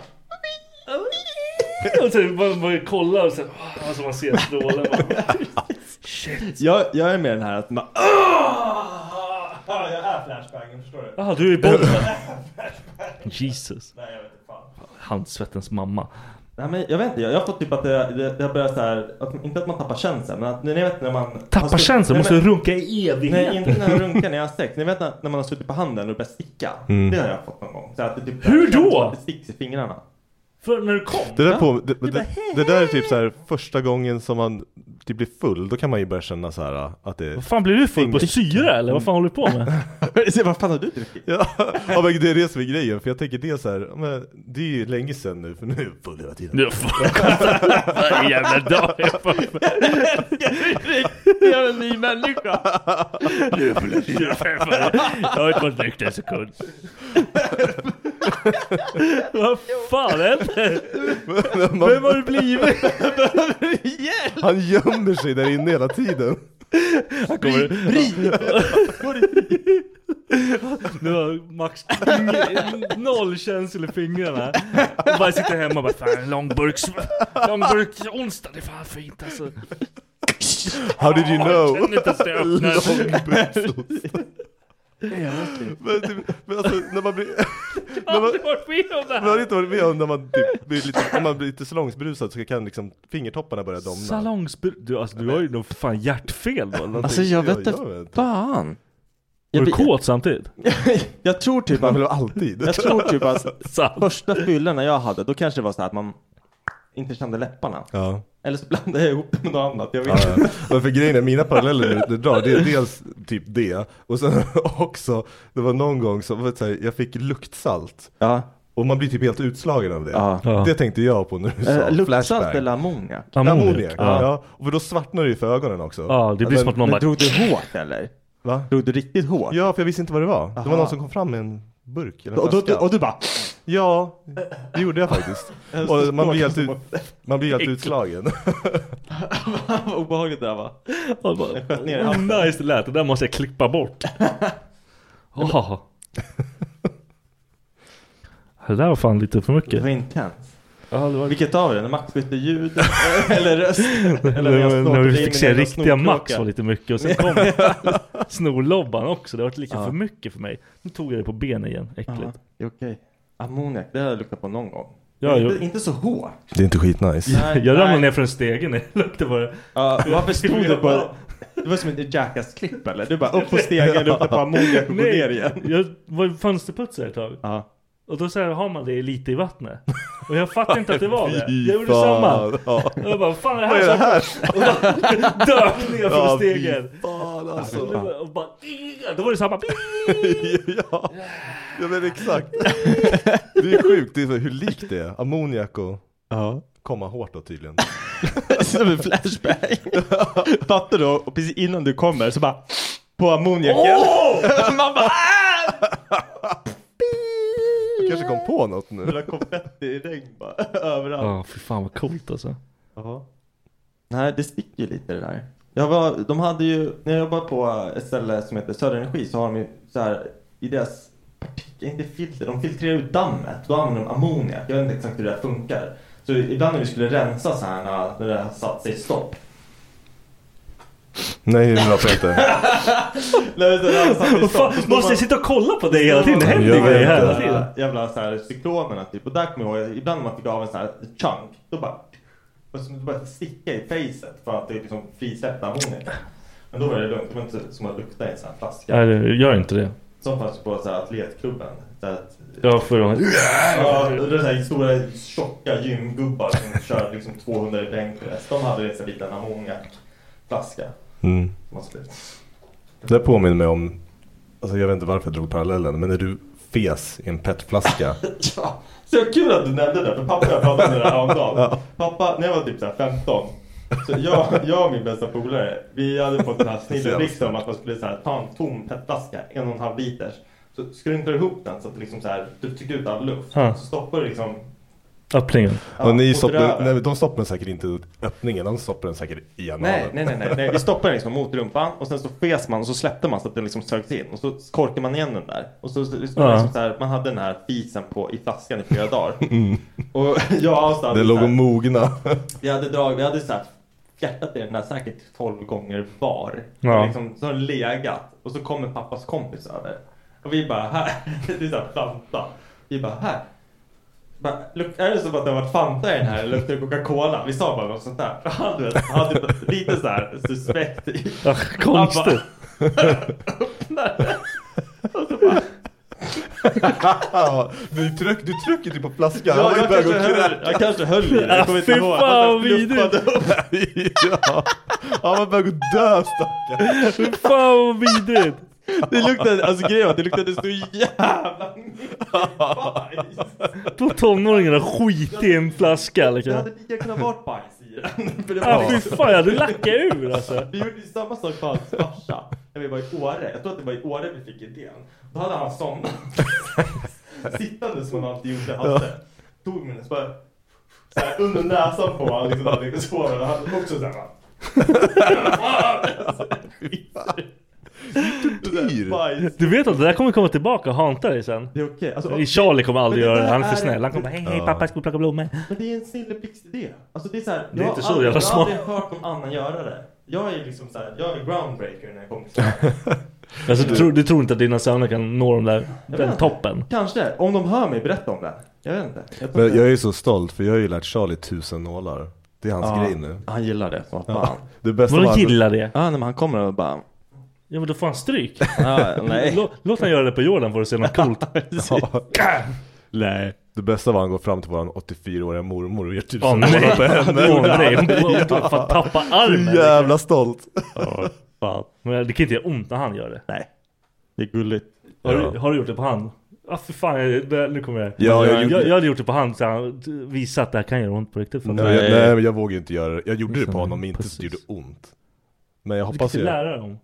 Speaker 3: Och sen typ, man, man kollar och sen, ah, alltså man ser strålen. bara.
Speaker 5: Jag, jag är med den här att man... Ah! Ja, jag är flashbangen, förstår du?
Speaker 3: Jaha, Ah, du är i bollen. Jesus.
Speaker 5: Nej, jag vet inte fan.
Speaker 3: Handsvettens mamma.
Speaker 5: Nej men jag vet inte, jag, jag har fått typ att det, det, det har börjat såhär, att, inte att man tappar känslan men att ni vet när man... har
Speaker 3: Tappar
Speaker 5: suttit-
Speaker 3: känslan,
Speaker 5: Alltså, Nej,
Speaker 3: måste
Speaker 5: men-
Speaker 3: runka i
Speaker 5: Nej
Speaker 3: evighet.
Speaker 5: inte när jag runkar när jag har sex, ni vet när, när man har suttit på handen och börjat sticka? Det har jag fått någon gång. Så att det typ
Speaker 3: Hur
Speaker 5: det känns
Speaker 3: då?
Speaker 5: som att Det sticks i fingrarna.
Speaker 3: För när du kom?
Speaker 6: Det där, på, det, det, det där är typ så här första gången som man typ blir full, då kan man ju börja känna så här ah, att det
Speaker 3: Vad fan blir du full på syra eller? Vad fan håller du på med?
Speaker 5: Så, Vad fan har du druckit?
Speaker 6: Ja, ja men det är det som är grejen, för jag tänker det är så här, ja, men det är ju länge sedan nu, för nu är jag full hela tiden.
Speaker 3: Du Varje jävla dag är jag full.
Speaker 5: Jag är en ny människa!
Speaker 3: Jag har inte varit nykter en sekund. Vad fan händer? Vem har du blivit?
Speaker 6: Han gömmer sig där inne hela tiden.
Speaker 3: Han kommer... Nu har Max noll känsla i fingrarna. Och bara sitter hemma och bara fan långburks... Långburksonsdag, det är fan fint alltså.
Speaker 6: How did you
Speaker 3: Jag
Speaker 6: know?
Speaker 3: känner inte ens det öppnar.
Speaker 6: Men, typ, men alltså när man blir...
Speaker 3: Jag har aldrig varit med om det
Speaker 6: Man har
Speaker 3: här!
Speaker 6: inte varit med om när man typ blir lite, när man blir lite salongsberusad så kan liksom fingertopparna börja domna.
Speaker 3: Salongsbru... Du, alltså, du har ju nog för fan hjärtfel då. eller någonting.
Speaker 5: Alltså jag vet
Speaker 6: jag
Speaker 5: inte
Speaker 6: vet.
Speaker 5: fan.
Speaker 3: Var
Speaker 5: Jag,
Speaker 3: du
Speaker 5: jag,
Speaker 3: kåt samtidigt?
Speaker 5: jag tror typ
Speaker 6: Man
Speaker 5: att,
Speaker 6: vill ha alltid.
Speaker 5: jag tror typ att
Speaker 3: Sant.
Speaker 5: första fyllorna jag hade, då kanske det var så här att man inte kände läpparna.
Speaker 6: Ja.
Speaker 5: Eller så blandade jag ihop det med något annat. Jag vet
Speaker 6: Ja,
Speaker 5: inte.
Speaker 6: ja. Men för grejen är, mina paralleller du- du drar, det är dels typ det, och sen också, det var någon gång som, vet du, så här, jag fick luktsalt,
Speaker 5: Ja.
Speaker 6: och man blir typ helt utslagen av det.
Speaker 5: Ja.
Speaker 3: Ja.
Speaker 6: Det tänkte jag på när du sa
Speaker 5: Eh, Luktsalt
Speaker 6: flashback.
Speaker 5: eller ammoniak?
Speaker 6: Ammoniak. Ja. Alltså,
Speaker 3: Ja.
Speaker 6: och för då svartnar det ju för ögonen också.
Speaker 3: ja, det blir som att någon
Speaker 5: Men
Speaker 3: bara...
Speaker 5: drog du hårt eller?
Speaker 6: Va?
Speaker 5: Drog du riktigt hårt?
Speaker 6: Ja, för jag visste inte vad det var. Det
Speaker 5: Aha.
Speaker 6: var någon som kom fram med en burk eller en
Speaker 5: Och, då-
Speaker 6: flaska.
Speaker 5: och du bara...
Speaker 6: Ja, det gjorde jag faktiskt. och man blir helt, ut, man blir helt utslagen.
Speaker 5: Vad obehagligt det där va?
Speaker 3: Ja, bara,
Speaker 5: sköt ner i
Speaker 3: Oh, nice det lät, det där måste jag klippa bort. Åh. Det där var fan lite för
Speaker 5: Det
Speaker 3: mycket.
Speaker 5: var intens.
Speaker 3: Ja, det var...
Speaker 5: Vilket av det? När Max bytte ljud? eller röst? Eller
Speaker 3: Det var-
Speaker 5: jag snorkade
Speaker 3: när vi
Speaker 5: in
Speaker 3: fick
Speaker 5: min
Speaker 3: se
Speaker 5: jävla
Speaker 3: riktiga Max
Speaker 5: snorkråka.
Speaker 3: var lite mycket och sen kom snorlobban också. Det var lika för mycket för mig. Nu tog jag det på benen igen, äckligt.
Speaker 5: Det är okej. Ammoniak, det har jag luktat på någon gång.
Speaker 3: Ja,
Speaker 5: inte,
Speaker 3: jo.
Speaker 5: inte så hårt.
Speaker 6: Det är inte skitnice.
Speaker 5: Nej,
Speaker 3: Jag ramlade
Speaker 5: nej.
Speaker 3: ner från stegen när jag luktade på det.
Speaker 5: Ja, varför stod du på...
Speaker 3: Ja.
Speaker 5: Det var som ett Jackass-klipp eller? Du bara upp på stegen, luktar på ammoniak och går ner igen.
Speaker 3: jag var fönsterputsare ett tag.
Speaker 5: Ja.
Speaker 3: Och då så här, har man det lite i vattnet. Och jag fattade inte att det var det.
Speaker 6: Fy
Speaker 3: Jag gjorde
Speaker 6: fan.
Speaker 3: samma.
Speaker 6: Ja.
Speaker 3: Och jag bara, vad fan är det
Speaker 6: Vad är
Speaker 3: här?
Speaker 6: det
Speaker 3: som-"
Speaker 6: här?
Speaker 3: Dök ner från
Speaker 6: Ja, fy
Speaker 3: stegen.
Speaker 6: fan
Speaker 3: Så
Speaker 6: alltså.
Speaker 3: det var- och bara, då var det samma.
Speaker 6: ja. ja, men exakt. Det är sjukt det är så, hur likt det är. Ammoniak och
Speaker 5: Ja.
Speaker 6: komma hårt då tydligen.
Speaker 5: Som en flashback. Fattar du? Och precis innan du kommer så bara... På ammoniaken. Man bara... "Ah!"
Speaker 6: Jag kanske kom på något nu.
Speaker 5: Bara konfetti i regn bara. Överallt.
Speaker 3: Ja, fy fan vad coolt alltså.
Speaker 5: Nej, det sticker ju lite det där. Jag var, de hade ju, när jag jobbade på ett ställe som heter Söderenergi så har de ju så här i deras partik- inte filter, de filtrerar ut dammet. Då använder de ammoniak. Jag vet inte exakt hur det här funkar. Så ibland när vi skulle rensa så här när- när det här satt sig i stopp.
Speaker 6: Nej, det låter inte.
Speaker 5: När det här satt sig i
Speaker 3: Vad
Speaker 5: stopp.
Speaker 3: fan,
Speaker 5: då
Speaker 3: måste
Speaker 5: står man-
Speaker 3: jag sitta och kolla på dig hela tiden? Det händer
Speaker 6: Jag
Speaker 3: ju grejer
Speaker 6: vet
Speaker 3: hela
Speaker 6: inte.
Speaker 3: tiden.
Speaker 5: Jävla- Jävla så här cyklonerna typ. Och där kommer jag ihåg, ibland när man fick av en sån här chunk, då bara... Och så började sticka i facet för att det liksom frisläppte ammoniak. Men då var det lugnt, det var inte som att lukta i en sån här flaska.
Speaker 3: Nej, det- gör inte det.
Speaker 5: Som fanns på så här atletklubben. Så att,
Speaker 3: Ja, förra gången.
Speaker 5: ja, det var så här stora tjocka gymgubbar som körde liksom 200 i bänkpress. De hade en sån här liten ammoniakflaska.
Speaker 6: Mm.
Speaker 5: som man skulle-
Speaker 6: Det här påminner mig om, alltså jag vet inte varför jag drog parallellen, men när du fes i en petflaska.
Speaker 5: Ja, så kul att du nämnde det, för pappa och jag pratade om det här häromdagen. Pappa, när jag var typ så här 15, så jag, jag och min bästa polare, vi hade fått den här snilleblixten om att man skulle så här, ta en tom petflaska, en och en halv liters. Så skrynklar du ihop den så att det liksom så här, du trycker ut all luft.
Speaker 3: Ja.
Speaker 5: Så stoppar du liksom...
Speaker 3: Öppningen.
Speaker 5: ja,
Speaker 6: och ni
Speaker 5: mot
Speaker 6: stoppar,
Speaker 5: röven.
Speaker 6: nej, de stoppar den säkert inte ut öppningen, de stoppar den säkert i
Speaker 5: Nej,
Speaker 6: analen.
Speaker 5: nej, nej, nej, nej. Vi stoppar den liksom mot rumpan och sen så fes man och så släppte man så att den liksom sögs in och så korkar man igen den där. Och så, så, så,
Speaker 3: Ja.
Speaker 5: liksom så här, man hade den här fisen på, i flaskan i flera dagar. Och jag och Asta hade
Speaker 6: Mm. Det
Speaker 5: så
Speaker 6: låg
Speaker 5: här-
Speaker 6: och mogna.
Speaker 5: Vi hade drag, vi hade så här fjärtat i den där säkert 12 gånger var.
Speaker 3: Ja.
Speaker 5: Och Liksom, så har den legat och så kommer pappas kompis över. Och vi bara här, det är så här Fanta. Vi bara här. Bara, luk- är det som att det har varit Fanta i den här eller luktar det Coca-Cola? Vi sa bara något sånt där. Och Han du vet, han hade typ lite så här suspekt i.
Speaker 3: Ja, konstigt.
Speaker 6: Ja, du, tryck, du trycker typ på flaskan.
Speaker 5: Ja,
Speaker 6: var
Speaker 5: jag,
Speaker 6: på väg
Speaker 5: kanske
Speaker 6: att
Speaker 5: höll, jag kanske höll i det. Jag kommer inte
Speaker 3: Fy
Speaker 5: ihåg. Jag
Speaker 3: fan,
Speaker 5: bara fluffade
Speaker 3: vidrigt.
Speaker 5: upp.
Speaker 6: ja. Han var på väg att dö stackarn.
Speaker 3: Fy fan vad vidrigt.
Speaker 5: Det luktade, alltså grejen var att det luktade så jävla mycket bajs.
Speaker 3: Två tonåringar har skit i en flaska.
Speaker 5: Det
Speaker 3: Liksom.
Speaker 5: hade lika kunnat varit bajs i den. För det
Speaker 3: Ja,
Speaker 5: var
Speaker 3: fy fan jag hade lackat ur alltså.
Speaker 5: Vi gjorde ju samma sak för hans farsa. När vi var i Åre. Jag tror att det var i Åre vi fick idén. Då hade han somnat. Sittande som han alltid gjorde. Hasse. Tog min och så bara. Så här, under näsan på honom. Liksom, hade sover. Och han också så här. va.
Speaker 6: Tortyr.
Speaker 5: Bajs.
Speaker 3: Du vet att det där kommer komma tillbaka och hanta dig sen.
Speaker 5: Det är okej. Alltså,
Speaker 3: I Charlie kommer aldrig
Speaker 5: Men det
Speaker 3: göra det, han är
Speaker 5: där
Speaker 3: för
Speaker 5: är-
Speaker 3: snäll. Han kommer bara hej hej pappa jag ska plocka blommor.
Speaker 5: Men det är en snilleblixtidé. Alltså det är så här,
Speaker 3: Det är
Speaker 5: jag
Speaker 3: inte
Speaker 5: har
Speaker 3: så
Speaker 5: aldrig-
Speaker 3: jävla
Speaker 5: Jag har aldrig hört någon annan göra det. Jag är liksom så här, jag är groundbreaker när jag kommer till det här.
Speaker 3: Alltså, du, tror, du tror inte att dina söner kan nå de där,
Speaker 5: Jag
Speaker 3: den
Speaker 5: vet
Speaker 3: toppen?
Speaker 5: inte. Kanske. Om de hör mig berätta om det. Jag vet inte. Jag tror
Speaker 6: Men
Speaker 5: inte.
Speaker 6: jag är så stolt för jag har ju lärt Charlie tusen nålar. Det är hans
Speaker 5: Ja,
Speaker 6: grej nu.
Speaker 5: Han gillar det. Vad
Speaker 6: Ja.
Speaker 5: fan.
Speaker 6: Det bästa
Speaker 3: Vadå
Speaker 6: var-
Speaker 3: gillar det?
Speaker 5: Ja, nej, men han kommer och bara... "Ah,
Speaker 3: Ja men då får han stryk.
Speaker 5: Ja, nej.
Speaker 3: Lå- Låt han göra det på Jordan för att se något coolt. Nej.
Speaker 6: Det bästa var att han går fram till våran 84-åriga mormor och ger tusen
Speaker 3: Åh
Speaker 6: nålar på
Speaker 3: nej.
Speaker 6: henne.
Speaker 3: Åh nej. Hon hon fan tappa armen.
Speaker 6: Så jävla stolt.
Speaker 3: Ja, fan. Men det kan inte göra ont när han gör det.
Speaker 5: nej. Det är gulligt.
Speaker 3: Har,
Speaker 6: Ja.
Speaker 3: du, har du gjort det på han? Ja för fan, jag- det, nu kommer jag.
Speaker 6: Ja, jag
Speaker 3: jag,
Speaker 6: gjorde-
Speaker 3: jag, hade gjort det på han så han visat att det här kan göra ont på riktigt. För
Speaker 6: Nej,
Speaker 3: mig.
Speaker 6: jag, nej men jag vågar ju inte göra det. Jag gjorde det på
Speaker 3: som
Speaker 6: honom
Speaker 3: en
Speaker 6: men inte så det
Speaker 3: pussis.
Speaker 6: gjorde ont. Men jag
Speaker 3: Du kan
Speaker 6: hoppas
Speaker 3: inte
Speaker 6: ju.
Speaker 3: lära dem.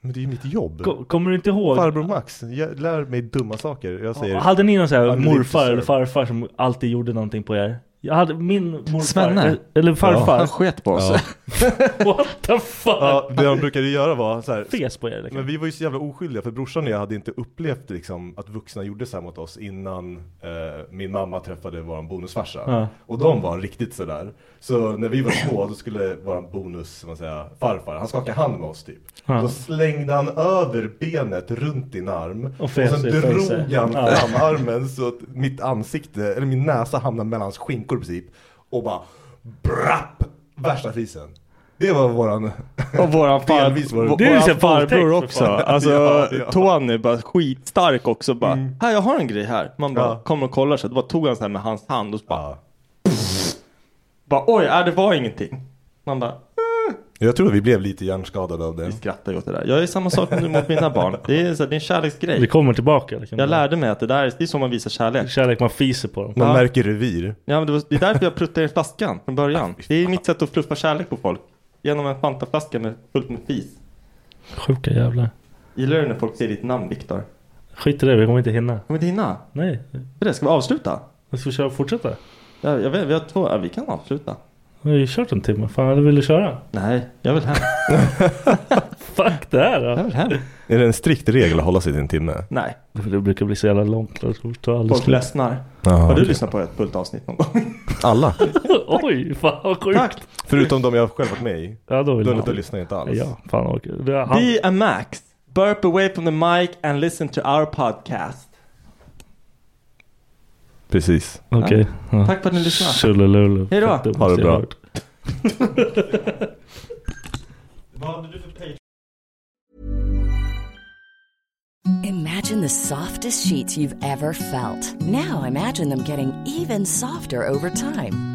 Speaker 6: Men det är ju mitt jobb.
Speaker 3: Ko- Kommer du inte ihåg?
Speaker 6: Farbror Max, jag lär mig dumma saker. Jag säger
Speaker 3: Hade ni någon sån här
Speaker 6: Ja, det är
Speaker 3: morfar
Speaker 6: inte
Speaker 3: eller
Speaker 6: så.
Speaker 3: farfar som alltid gjorde någonting på er? Jag hade min morfar, Eh,
Speaker 5: Svenne.
Speaker 3: eller
Speaker 5: Han
Speaker 3: farfar,
Speaker 5: sket på oss.
Speaker 3: what the fuck?
Speaker 6: Ja, det de brukade göra var så här.
Speaker 3: Fes på er liksom.
Speaker 6: Men vi var ju så jävla oskyldiga för brorsan och jag hade inte upplevt liksom, att vuxna gjorde så här mot oss innan eh, min mamma träffade vår bonusfarsa.
Speaker 3: Ja.
Speaker 6: Och de var riktigt sådär. Så när vi var små då skulle vår bonus, som man säger, farfar, han skakade hand med oss typ.
Speaker 3: Ja.
Speaker 6: Då slängde han över benet runt din arm.
Speaker 3: Och fes
Speaker 6: sen
Speaker 3: i face.
Speaker 6: drog han
Speaker 3: Ja.
Speaker 6: fram armen så att mitt ansikte, eller min näsa hamnade mellan hans skinkor i princip. Och bara brapp! Värsta frisen. Det var våran...
Speaker 5: Och våran
Speaker 6: Delvis var det-
Speaker 5: far,
Speaker 3: Det är ju
Speaker 5: våran
Speaker 3: så här våldtäkt,
Speaker 5: farbror
Speaker 3: för
Speaker 5: också.
Speaker 3: fan.
Speaker 5: Alltså
Speaker 6: Ja, ja.
Speaker 5: Tony bara skitstark också bara.
Speaker 3: Mm.
Speaker 5: Här jag har en grej här. Man bara
Speaker 6: Ja.
Speaker 5: kommer och kollar så här, då bara tog han så här med hans hand och så bara,
Speaker 6: Ja.
Speaker 5: bara oj, äh, det var ingenting. Man bara,
Speaker 6: Jag tror vi blev lite hjärnskadade av det.
Speaker 5: vi skrattar ju åt det där. Jag är samma sak nu mot mina barn. Det är, så här, det är
Speaker 3: Vi
Speaker 5: en kärleksgrej.
Speaker 3: kommer tillbaka liksom.
Speaker 5: Jag lärde mig att det där det är så man visar kärlek.
Speaker 3: Kärlek, man fiser på dem.
Speaker 6: Man
Speaker 5: Ja.
Speaker 6: märker revir.
Speaker 5: Ja, men det, var, det är därför jag pruttade i flaskan från början. Det är mitt sätt att fluffa kärlek på folk. Genom en fantaflaska med fullt med fis.
Speaker 3: Sjuka jävlar.
Speaker 5: Gillar du när folk säger ditt namn Viktor?
Speaker 3: Skit i det, vi kommer inte hinna.
Speaker 5: Kommer inte hinna.
Speaker 3: Nej.
Speaker 5: För det, ska vi avsluta?
Speaker 3: Jag ska vi köra, fortsätta?
Speaker 5: Jag, jag vet, vi har två, ja, vi kan avsluta.
Speaker 3: Vi har ju kört en timme. Fan, vill du köra?
Speaker 5: Nej, jag vill hem.
Speaker 3: Fuck det här
Speaker 5: Jag
Speaker 3: då.
Speaker 5: vill hem.
Speaker 6: Är det en strikt regel att hålla sig till en timme?
Speaker 5: Nej,
Speaker 3: Det brukar bli så jävla långt. Det tar aldrig
Speaker 5: folk
Speaker 3: slut.
Speaker 5: ledsnar.
Speaker 6: Ja,
Speaker 5: Har du
Speaker 6: okej.
Speaker 5: lyssnat på ett fullt avsnitt någon gång?
Speaker 6: Alla.
Speaker 3: Oj, fan vad sjukt.
Speaker 5: Tack!
Speaker 6: Förutom de jag själv varit med i.
Speaker 3: Ja, då vill
Speaker 6: Då,
Speaker 3: man.
Speaker 6: då lyssnar jag inte alls.
Speaker 3: Ja, fan okej. Det är han.
Speaker 5: Be a max. Burp away from the mic and listen to our podcast.
Speaker 6: Precis.
Speaker 3: Okej. Ja.
Speaker 5: Tack för att ni lyssnade.
Speaker 3: Tjolilulu.
Speaker 5: Hej då.
Speaker 3: Fett dumt,
Speaker 6: Ha det bra.
Speaker 3: jag hört.
Speaker 5: Vad hade du för page?
Speaker 9: Imagine the softest sheets you've ever felt. Now imagine them getting even softer over time.